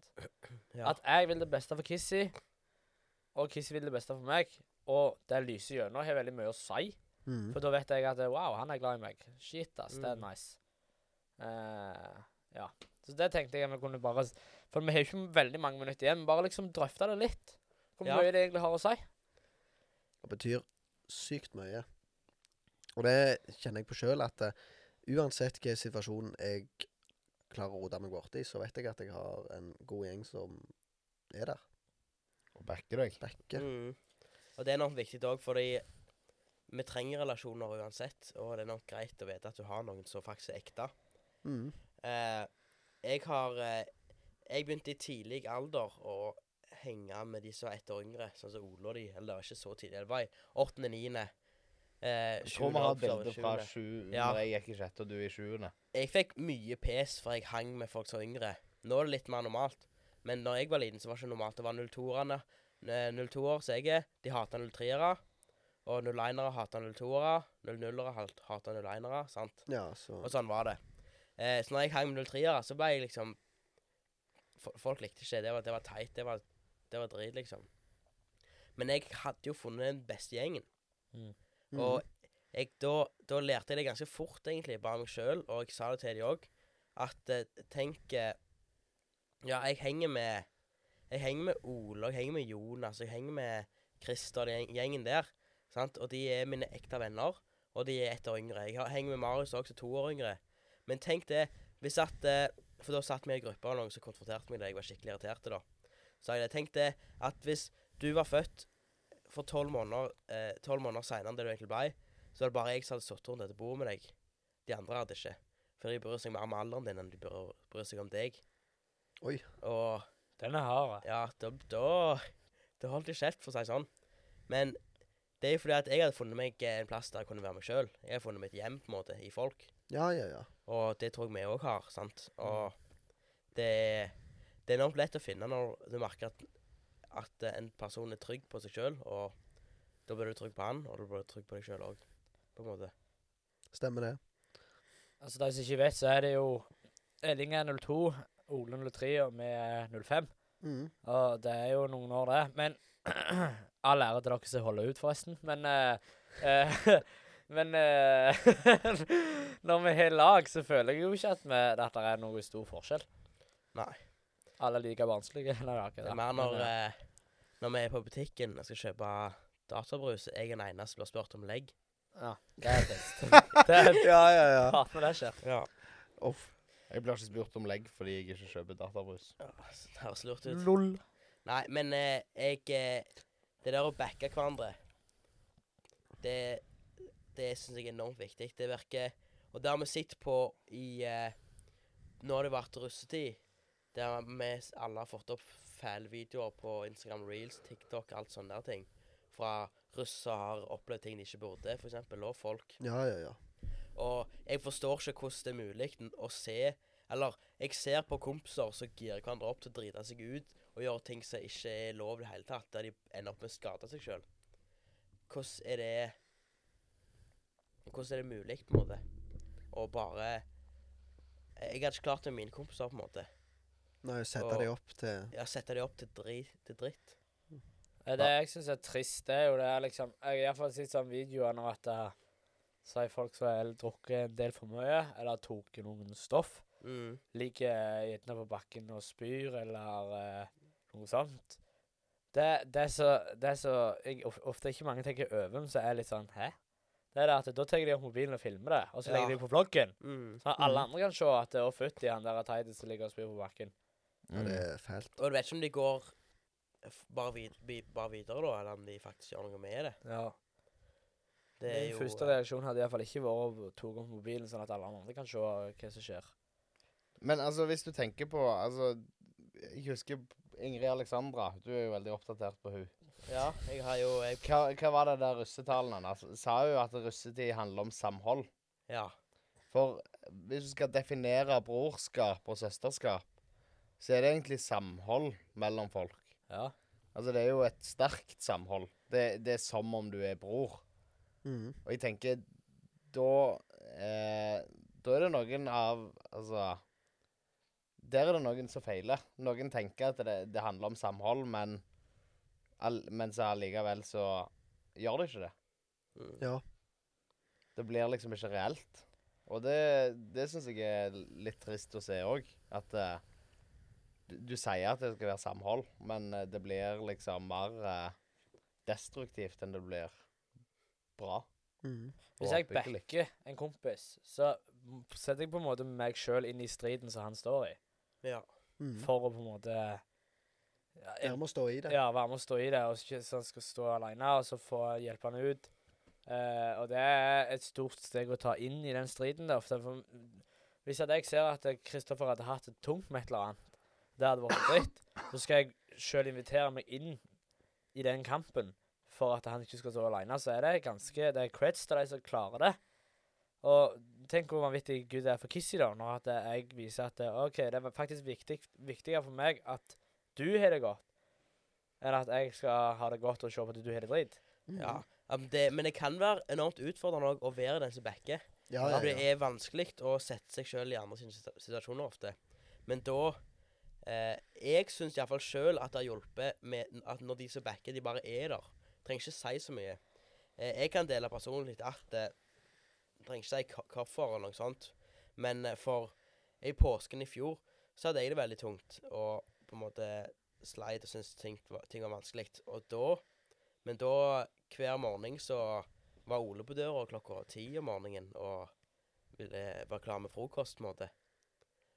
[SPEAKER 4] Ja.
[SPEAKER 2] At jeg vil det beste for Kissy, og Kissy vil det beste for meg. Og det lyset gjennom har veldig mye å si,
[SPEAKER 1] Mm.
[SPEAKER 2] for da vet jeg at wow, han er glad i meg. Shit, ass, det er
[SPEAKER 4] Mm.
[SPEAKER 2] nice. Eh, ja. Så det tenkte jeg vi kunne bare s- For vi har jo ikke veldig mange minutter igjen, men bare liksom drøfte det litt. Hvor
[SPEAKER 4] Ja.
[SPEAKER 2] mye det egentlig har å si.
[SPEAKER 1] og betyr sykt mye. Og det kjenner jeg på sjøl, at eh, uansett hvilken situasjon jeg klarer å rote meg borti, så vet jeg at jeg har en god gjeng som er der.
[SPEAKER 3] Og backer deg.
[SPEAKER 1] Backer.
[SPEAKER 4] Mm. Og det er nok viktig òg, fordi vi trenger relasjoner uansett. Og det er nok greit å vite at du har noen som faktisk er ekte.
[SPEAKER 1] Mm.
[SPEAKER 4] Eh, jeg har eh, Jeg begynte i tidlig alder å henge med de som var ett år yngre, sånn som Ole og de. Eller det var ikke så tidlig, det var i åttende, niende. Eh,
[SPEAKER 3] Jeg tror
[SPEAKER 4] sjuende
[SPEAKER 3] vi har
[SPEAKER 4] opp, så var
[SPEAKER 3] bilde
[SPEAKER 4] det
[SPEAKER 3] fra
[SPEAKER 4] sjuende.
[SPEAKER 3] sju
[SPEAKER 4] Ja.
[SPEAKER 3] når jeg gikk i sjette og du i sjuende.
[SPEAKER 4] Jeg fikk mye pes for jeg hang med folk som var yngre. Nå er det litt mer normalt. Men når jeg var liten, så var det ikke normalt. Det var 02-erne. 02-er som jeg er, de hater 03-ere. Og 01-ere hater 02-ere. 00-ere hat- hater 01-ere. Sant?
[SPEAKER 1] Ja, så
[SPEAKER 4] Og sånn var det. Eh, så når jeg hang med 03-ere, så ble jeg liksom fo- Folk likte ikke det. Det var, det var teit. Det var, det var drit, liksom. Men jeg hadde jo funnet den beste gjengen.
[SPEAKER 1] mm.
[SPEAKER 4] Og jeg, da, da lærte jeg det ganske fort, egentlig, bare meg sjøl, og jeg sa det til de òg, at eh, tenk eh, Ja, jeg henger med Jeg henger med Ole, og jeg henger med Jonas, og jeg henger med Christer, den gjeng- gjengen der. Sant? Og de er mine ekte venner, og de er ett år yngre. Jeg har- henger med Marius òg, som er to år yngre. Men tenk det, hvis at eh, For da satt vi i gruppa, og noen som konfronterte meg da jeg var skikkelig irritert. da. Så jeg tenkte det, at hvis du var født for tolv måneder, eh, 12 måneder seinere enn det du egentlig ble, så var det bare jeg som hadde sittet rundt dette bordet med deg. De andre hadde ikke. For de bryr seg mer om alderen din enn de bryr, bryr seg om deg.
[SPEAKER 1] Oi.
[SPEAKER 4] Og
[SPEAKER 2] Den er hard.
[SPEAKER 4] ja, da, da Det holdt jeg kjeft, for å si det sånn. Men det er jo fordi at jeg hadde funnet meg eh, en plass der jeg kunne være meg sjøl. Jeg hadde funnet mitt hjem, på en måte, i folk.
[SPEAKER 1] Ja, ja, ja.
[SPEAKER 4] Og det tror jeg vi òg har, sant.
[SPEAKER 2] Mm.
[SPEAKER 4] Og det, det er enormt lett å finne når du merker at, at eh, en person er trygg på seg sjøl, og da blir du trygg på han, og da blir du trygg på deg sjøl òg, på en måte.
[SPEAKER 1] Stemmer det.
[SPEAKER 2] Altså, de som ikke vet, så er det jo Elling er 02, Ole 03 og vi er 05.
[SPEAKER 1] Mm.
[SPEAKER 2] Og det er jo noen år, det. Men all ære til dere som holder ut, forresten. Men eh, eh, Men eh, når vi har lag, så føler jeg jo ikke at, vi, at det er noe stor forskjell.
[SPEAKER 4] Nei.
[SPEAKER 2] Alle er like vanskelige. Nei, det er ikke
[SPEAKER 4] Det
[SPEAKER 2] det.
[SPEAKER 4] er mer
[SPEAKER 2] Men,
[SPEAKER 4] når,
[SPEAKER 2] eh,
[SPEAKER 4] eh, når vi er på butikken og skal kjøpe databrus, jeg er den eneste som blir spurt om legg.
[SPEAKER 2] Ja, det er best. eh, det er
[SPEAKER 1] Ja, ja, ja.
[SPEAKER 2] Hater når det skjer.
[SPEAKER 4] Ja.
[SPEAKER 1] Uff.
[SPEAKER 3] Jeg blir ikke spurt om legg fordi jeg ikke kjøper databrus.
[SPEAKER 4] så Det høres lurt ut.
[SPEAKER 2] Lol.
[SPEAKER 4] Nei, men eh, jeg eh, Det der å backe hverandre, det, det syns jeg er enormt viktig. Det virker Og det har vi sett på i eh, Nå har det vært russetid, der vi s- alle har fått opp fæle videoer på Instagram Reels, TikTok, alt sånne der ting. Fra russ som har opplevd ting de ikke burde, f.eks. Og folk
[SPEAKER 1] Ja, ja, ja.
[SPEAKER 4] Og jeg forstår ikke hvordan det er mulig n- å se Eller jeg ser på kompiser som girer hverandre opp til å drite seg ut og gjøre ting som ikke er lov i det hele tatt, der de ender opp med å skade seg sjøl. Hvordan er det Hvordan er det mulig, på en måte? Å bare Jeg hadde ikke klart det med mine kompiser, på en måte.
[SPEAKER 1] Nå setter
[SPEAKER 4] Og-
[SPEAKER 1] jeg de opp til
[SPEAKER 4] Jeg setter de opp til drit. Til dritt.
[SPEAKER 2] Det er det jeg syns er trist, det er jo det er liksom Jeg har iallfall sett sånne videoer når at eh, så er folk som har drukket en del for mye, eller tok noen stoff.
[SPEAKER 4] Mm.
[SPEAKER 2] ligger gjerne på bakken og spyr, eller eh, noe sånt. Det, det er så, det er så jeg, of- Ofte ikke mange tenker over, men så er jeg litt sånn Hæ? Det er det at Da tar jeg de opp mobilen og filmer det, og så legger
[SPEAKER 4] Ja.
[SPEAKER 2] de på vloggen.
[SPEAKER 4] Mm.
[SPEAKER 2] Sånn at alle andre kan se at det er fytti han der teite som ligger og spyr på bakken.
[SPEAKER 1] Og det er fælt.
[SPEAKER 4] Og du vet ikke om de går f- bare, vid vi- bare videre, da, eller om de faktisk gjør noe med det.
[SPEAKER 2] Ja.
[SPEAKER 4] Det er
[SPEAKER 2] Min
[SPEAKER 4] jo
[SPEAKER 2] første reaksjon hadde iallfall ikke vært å ta opp mobilen, sånn at alle andre kan se hva som skjer.
[SPEAKER 3] Men altså, hvis du tenker på altså, Jeg husker Ingrid Alexandra. Du er jo veldig oppdatert på hun.
[SPEAKER 4] Ja, jeg har jo jeg,
[SPEAKER 3] Hva, hva var det der russetalen hennes? Sa hun at russetid handler om samhold?
[SPEAKER 4] Ja.
[SPEAKER 3] For eh, hvis du skal definere brorskap og søsterskap, så er det egentlig samhold mellom folk.
[SPEAKER 2] Ja.
[SPEAKER 3] Altså, det er jo et sterkt samhold. Det, det er som om du er bror.
[SPEAKER 1] Mm.
[SPEAKER 3] Og jeg tenker, da eh, Da er det noen av Altså Der er det noen som feiler. Noen tenker at det, det handler om samhold, men, all, men så allikevel så gjør det ikke det.
[SPEAKER 4] Mm.
[SPEAKER 1] Ja.
[SPEAKER 3] Det blir liksom ikke reelt. Og det, det syns jeg er litt trist å se òg. At eh, du, du sier at det skal være samhold, men eh, det blir liksom mer eh, destruktivt enn det blir bra.
[SPEAKER 1] Mm.
[SPEAKER 2] Hvis
[SPEAKER 3] og
[SPEAKER 2] jeg
[SPEAKER 3] oppbyggelig.
[SPEAKER 2] backer en kompis, så m- setter jeg på en måte meg sjøl inn i striden som han står i,
[SPEAKER 4] ja.
[SPEAKER 1] Mm.
[SPEAKER 2] for å på en måte ja,
[SPEAKER 1] Dere må stå i det.
[SPEAKER 2] Ja, være med og stå i det, og så ikke så han skal stå alene, og så få hjelpe han ut. Eh, og det er et stort steg å ta inn i den striden. Der, for for- hvis at jeg ser at eh, Kristoffer hadde hatt det tungt med et eller annet, det hadde vært dritt, så skal jeg sjøl invitere meg inn i den kampen for at han ikke skal stå alene. Så er det ganske Det er creds til de som klarer det. Og tenk hvor vanvittig Gud er for Kissy, da, når at jeg viser at eh, OK, det er faktisk viktig, viktigere for meg at du har det godt enn at jeg skal ha det godt og se på at du har det drit.
[SPEAKER 1] Mm.
[SPEAKER 4] ja. Ja, men det, men det kan være enormt utfordrende også å være den som backer.
[SPEAKER 1] Ja,
[SPEAKER 4] For
[SPEAKER 1] ja,
[SPEAKER 4] Det
[SPEAKER 1] ja.
[SPEAKER 4] er vanskelig å sette seg sjøl i andre sine situ- situasjoner ofte. Men da eh, Jeg syns iallfall sjøl at det har hjulpet med n- at når de som backer, de bare er der. Trenger ikke si så mye. Eh, jeg kan dele personlig at eh, Trenger ikke si hva- hvorfor eller noe sånt. Men eh, for i påsken i fjor så hadde jeg det veldig tungt og på en måte sleit og syntes ting, var- ting var vanskelig. Og da Men da, hver morgen så var Ole på døra klokka ti om morgenen og ville være klar med frokost. på en måte.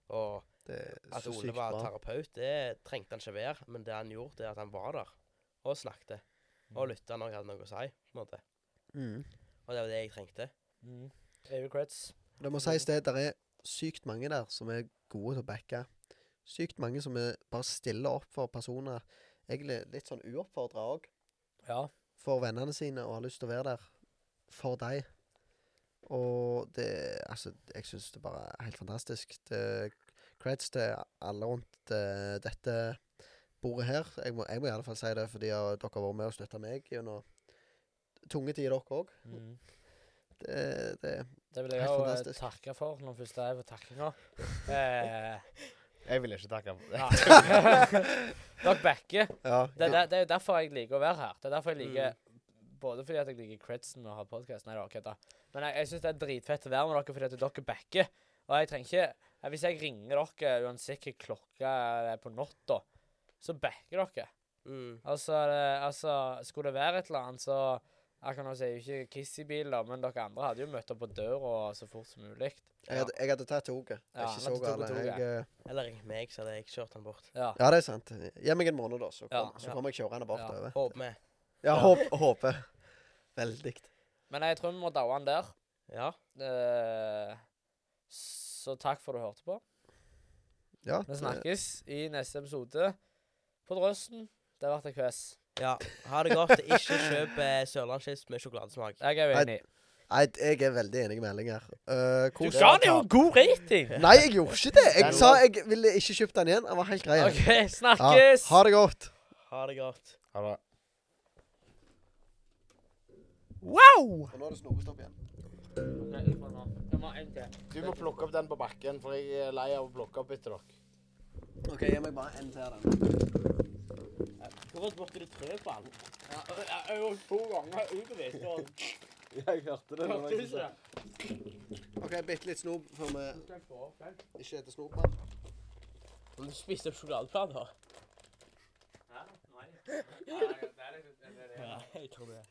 [SPEAKER 4] Og
[SPEAKER 1] Det er
[SPEAKER 4] at
[SPEAKER 1] så
[SPEAKER 4] Ole
[SPEAKER 1] sykt
[SPEAKER 4] var
[SPEAKER 1] bra.
[SPEAKER 4] terapeut, det trengte han ikke være. Men det han gjorde, det er at han var der og snakket. Og lytta når jeg hadde noe å si. på en måte.
[SPEAKER 1] Mm.
[SPEAKER 4] Og det var det jeg trengte.
[SPEAKER 2] Mm. Evil creds.
[SPEAKER 1] Det må sies det, der er sykt mange der som er gode til å backe. Sykt mange som er bare stiller opp for personer. Egentlig litt sånn uoppfordra òg.
[SPEAKER 2] Ja.
[SPEAKER 1] For vennene sine og har lyst til å være der for deg. Og det Altså, jeg syns det bare er helt fantastisk. Det, creds til alle rundt eh, dette bordet her. Jeg må, jeg må i alle fall si det, fordi eh, dere har vært med og støtta meg gjennom tunge tider, dere òg.
[SPEAKER 2] Mm.
[SPEAKER 1] Det, det
[SPEAKER 2] Det vil jeg
[SPEAKER 1] Helt
[SPEAKER 2] jo eh,
[SPEAKER 1] fantastisk.
[SPEAKER 2] takke for, når først jeg er på takkinga. Eh,
[SPEAKER 3] Jeg vil ikke takke for det.
[SPEAKER 2] nei. Dere backer.
[SPEAKER 1] Ja.
[SPEAKER 2] Det, er der- det er jo derfor jeg liker å være her. Det er derfor jeg liker Både fordi at jeg liker credsen og har podkast. Nei da, kødda. Men jeg, jeg syns det er dritfett å være med dere fordi at dere backer. Og jeg trenger ikke eh, Hvis jeg ringer dere uansett hva klokka det er på natta, så backer dere.
[SPEAKER 4] Mm.
[SPEAKER 2] Altså, det, altså, skulle det være et eller annet, så Jeg kan jo si ikke Kiss i bil, da, men dere andre hadde jo møtt opp på døra så fort som mulig.
[SPEAKER 1] Jeg hadde, jeg hadde tatt toget. Det
[SPEAKER 2] Ja,
[SPEAKER 1] er
[SPEAKER 2] han
[SPEAKER 1] ikke så
[SPEAKER 2] hadde tatt
[SPEAKER 1] galt.
[SPEAKER 2] toget.
[SPEAKER 1] Jeg, eh,
[SPEAKER 4] Eller ringte meg, så hadde jeg kjørt han bort.
[SPEAKER 2] Ja.
[SPEAKER 1] Ja, det er sant. Gi meg en måned, da, så
[SPEAKER 2] Ja,
[SPEAKER 1] kommer, så
[SPEAKER 4] ja.
[SPEAKER 1] kommer jeg kjørende bortover.
[SPEAKER 4] Håper vi.
[SPEAKER 1] Ja,
[SPEAKER 2] Ja.
[SPEAKER 1] håp, håper. Veldig.
[SPEAKER 2] Men jeg tror vi må daue han der.
[SPEAKER 4] Ja.
[SPEAKER 2] Eh, så takk for at du hørte på.
[SPEAKER 1] Ja,
[SPEAKER 2] Vi snakkes i neste episode på Drøsten. Det har vært en kves.
[SPEAKER 4] ja. Ha det godt. Ikke kjøp eh, sørlandschips med sjokoladesmak.
[SPEAKER 2] Jeg er
[SPEAKER 1] Nei,
[SPEAKER 2] uenig.
[SPEAKER 1] Nei, jeg er veldig enig med Erling her. Eh, kos-
[SPEAKER 2] god rating!
[SPEAKER 1] Nei, jeg gjorde ikke det!
[SPEAKER 3] Den
[SPEAKER 1] Jeg sa jeg ville ikke kjøpt den igjen. Den var helt grei.
[SPEAKER 2] OK,
[SPEAKER 1] Ja,
[SPEAKER 2] snakkes!
[SPEAKER 1] ha det godt.
[SPEAKER 4] Ha det godt.
[SPEAKER 3] Ha det.
[SPEAKER 2] Wow!
[SPEAKER 1] Og nå er det snokestopp igjen.
[SPEAKER 3] Du må plukke opp den på bakken, for jeg er lei av å plukke opp etter dere.
[SPEAKER 1] OK, gi meg bare en til av den.
[SPEAKER 4] Hvor borti det treet på han?
[SPEAKER 3] Jeg hørte det. Når jeg sa-
[SPEAKER 1] OK, bitte litt snop før vi ikke spiser snop mer.
[SPEAKER 4] Du spiste sjokoladeplater? Ja, jeg tror det.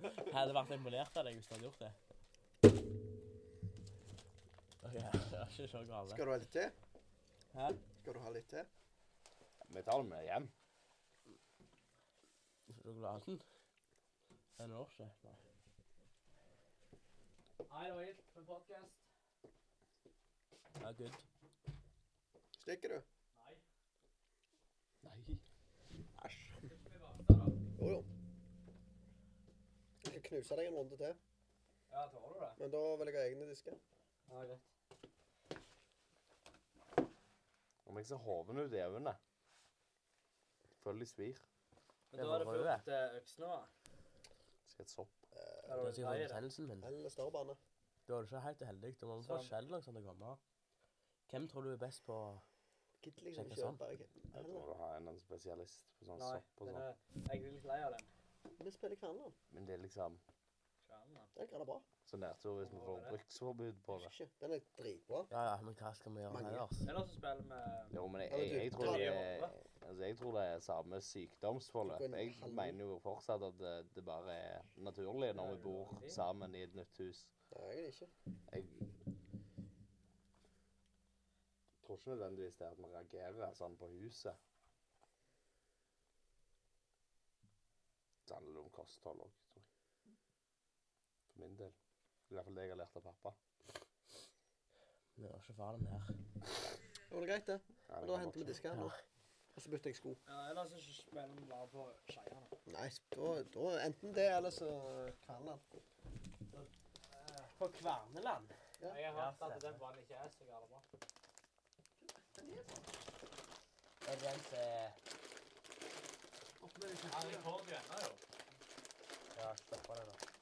[SPEAKER 4] Jeg hadde vært imponert av deg hvis du hadde gjort det. Ok, det var ikke så galt.
[SPEAKER 1] Skal du ha litt til?
[SPEAKER 4] Hæ?
[SPEAKER 1] Skal du ha litt til?
[SPEAKER 3] Vi tar det med hjem.
[SPEAKER 4] Sjokoladen? Den når ikke. Nei.
[SPEAKER 2] Nei, det var helt en podkast.
[SPEAKER 4] Ja, good.
[SPEAKER 1] Stikker du?
[SPEAKER 4] Nei.
[SPEAKER 1] Jo, jo. Jeg skal knuse deg en runde til,
[SPEAKER 2] Ja, tåler du det?
[SPEAKER 1] men da vil jeg ha egne disker.
[SPEAKER 2] Ja, greit.
[SPEAKER 3] Nå må jeg se hoven ut i øynene. Følg de svir.
[SPEAKER 2] Men da er
[SPEAKER 4] Det
[SPEAKER 2] det
[SPEAKER 4] var rød.
[SPEAKER 2] fullt eh, økse nå, da.
[SPEAKER 3] Skal et sopp.
[SPEAKER 2] Ja,
[SPEAKER 4] Da
[SPEAKER 2] det var
[SPEAKER 4] skal jeg få
[SPEAKER 2] deilig, det.
[SPEAKER 4] betennelsen min.
[SPEAKER 1] Eller større bane.
[SPEAKER 4] Da er du ikke helt heldig. Du må få
[SPEAKER 2] Sånn.
[SPEAKER 4] skjell når det kommer. Hvem tror du er best på
[SPEAKER 1] Gidder liksom ikke
[SPEAKER 4] Sjekker sånn.
[SPEAKER 1] kjøpe Bergen.
[SPEAKER 3] Jeg tror du har en eller annen spesialist på sånn
[SPEAKER 2] Nei,
[SPEAKER 3] sopp og
[SPEAKER 2] den
[SPEAKER 3] sånn.
[SPEAKER 2] er, jeg er litt lei av den.
[SPEAKER 1] Vi spiller Kverneland.
[SPEAKER 3] Men det er liksom
[SPEAKER 2] Skjermen, da.
[SPEAKER 1] Det er det bra.
[SPEAKER 3] så nedtur hvis vi får bruksforbud på det.
[SPEAKER 1] Ikke. Den er dritbra.
[SPEAKER 4] Ja, ja, men hva skal vi gjøre
[SPEAKER 1] Mange.
[SPEAKER 4] ellers?
[SPEAKER 2] Eller så spiller vi
[SPEAKER 3] Jo, men jeg,
[SPEAKER 1] Ja, men du,
[SPEAKER 3] jeg, jeg, tror,
[SPEAKER 1] ta
[SPEAKER 3] det
[SPEAKER 2] det
[SPEAKER 3] er,
[SPEAKER 2] over.
[SPEAKER 3] altså, jeg tror det er samme sykdomsforløp.
[SPEAKER 1] Du kan
[SPEAKER 3] Jeg
[SPEAKER 1] halve-
[SPEAKER 3] mener jo fortsatt at det, det bare er naturlig når vi bor sammen i et nytt hus.
[SPEAKER 1] Nei, egentlig ikke.
[SPEAKER 3] Jeg tror ikke nødvendigvis det er at vi reagerer sånn på huset. Det handler om kosthold òg, tror jeg. For min del. Det er i hvert fall det jeg har lært av pappa.
[SPEAKER 4] Vi gjør ikke faren her.
[SPEAKER 1] Det var greit, det.
[SPEAKER 3] Ja,
[SPEAKER 1] Men
[SPEAKER 3] det
[SPEAKER 1] da
[SPEAKER 3] kan
[SPEAKER 1] henter vi
[SPEAKER 3] nok-
[SPEAKER 1] disker nå. Og så bytter jeg sko.
[SPEAKER 2] Ja, eller så spiller vi bare på skeiene.
[SPEAKER 1] Nei, da, da enten det, eller så Kverneland.
[SPEAKER 4] På Kverneland?
[SPEAKER 1] Ja.
[SPEAKER 2] Jeg har
[SPEAKER 4] Ja,
[SPEAKER 2] hørt at
[SPEAKER 4] stemmer.
[SPEAKER 2] den vannet ikke er så galt bra.
[SPEAKER 4] Er det den som er-
[SPEAKER 2] Ja, den kommer jo ennå, jo.
[SPEAKER 4] Ja, stoppa det nå.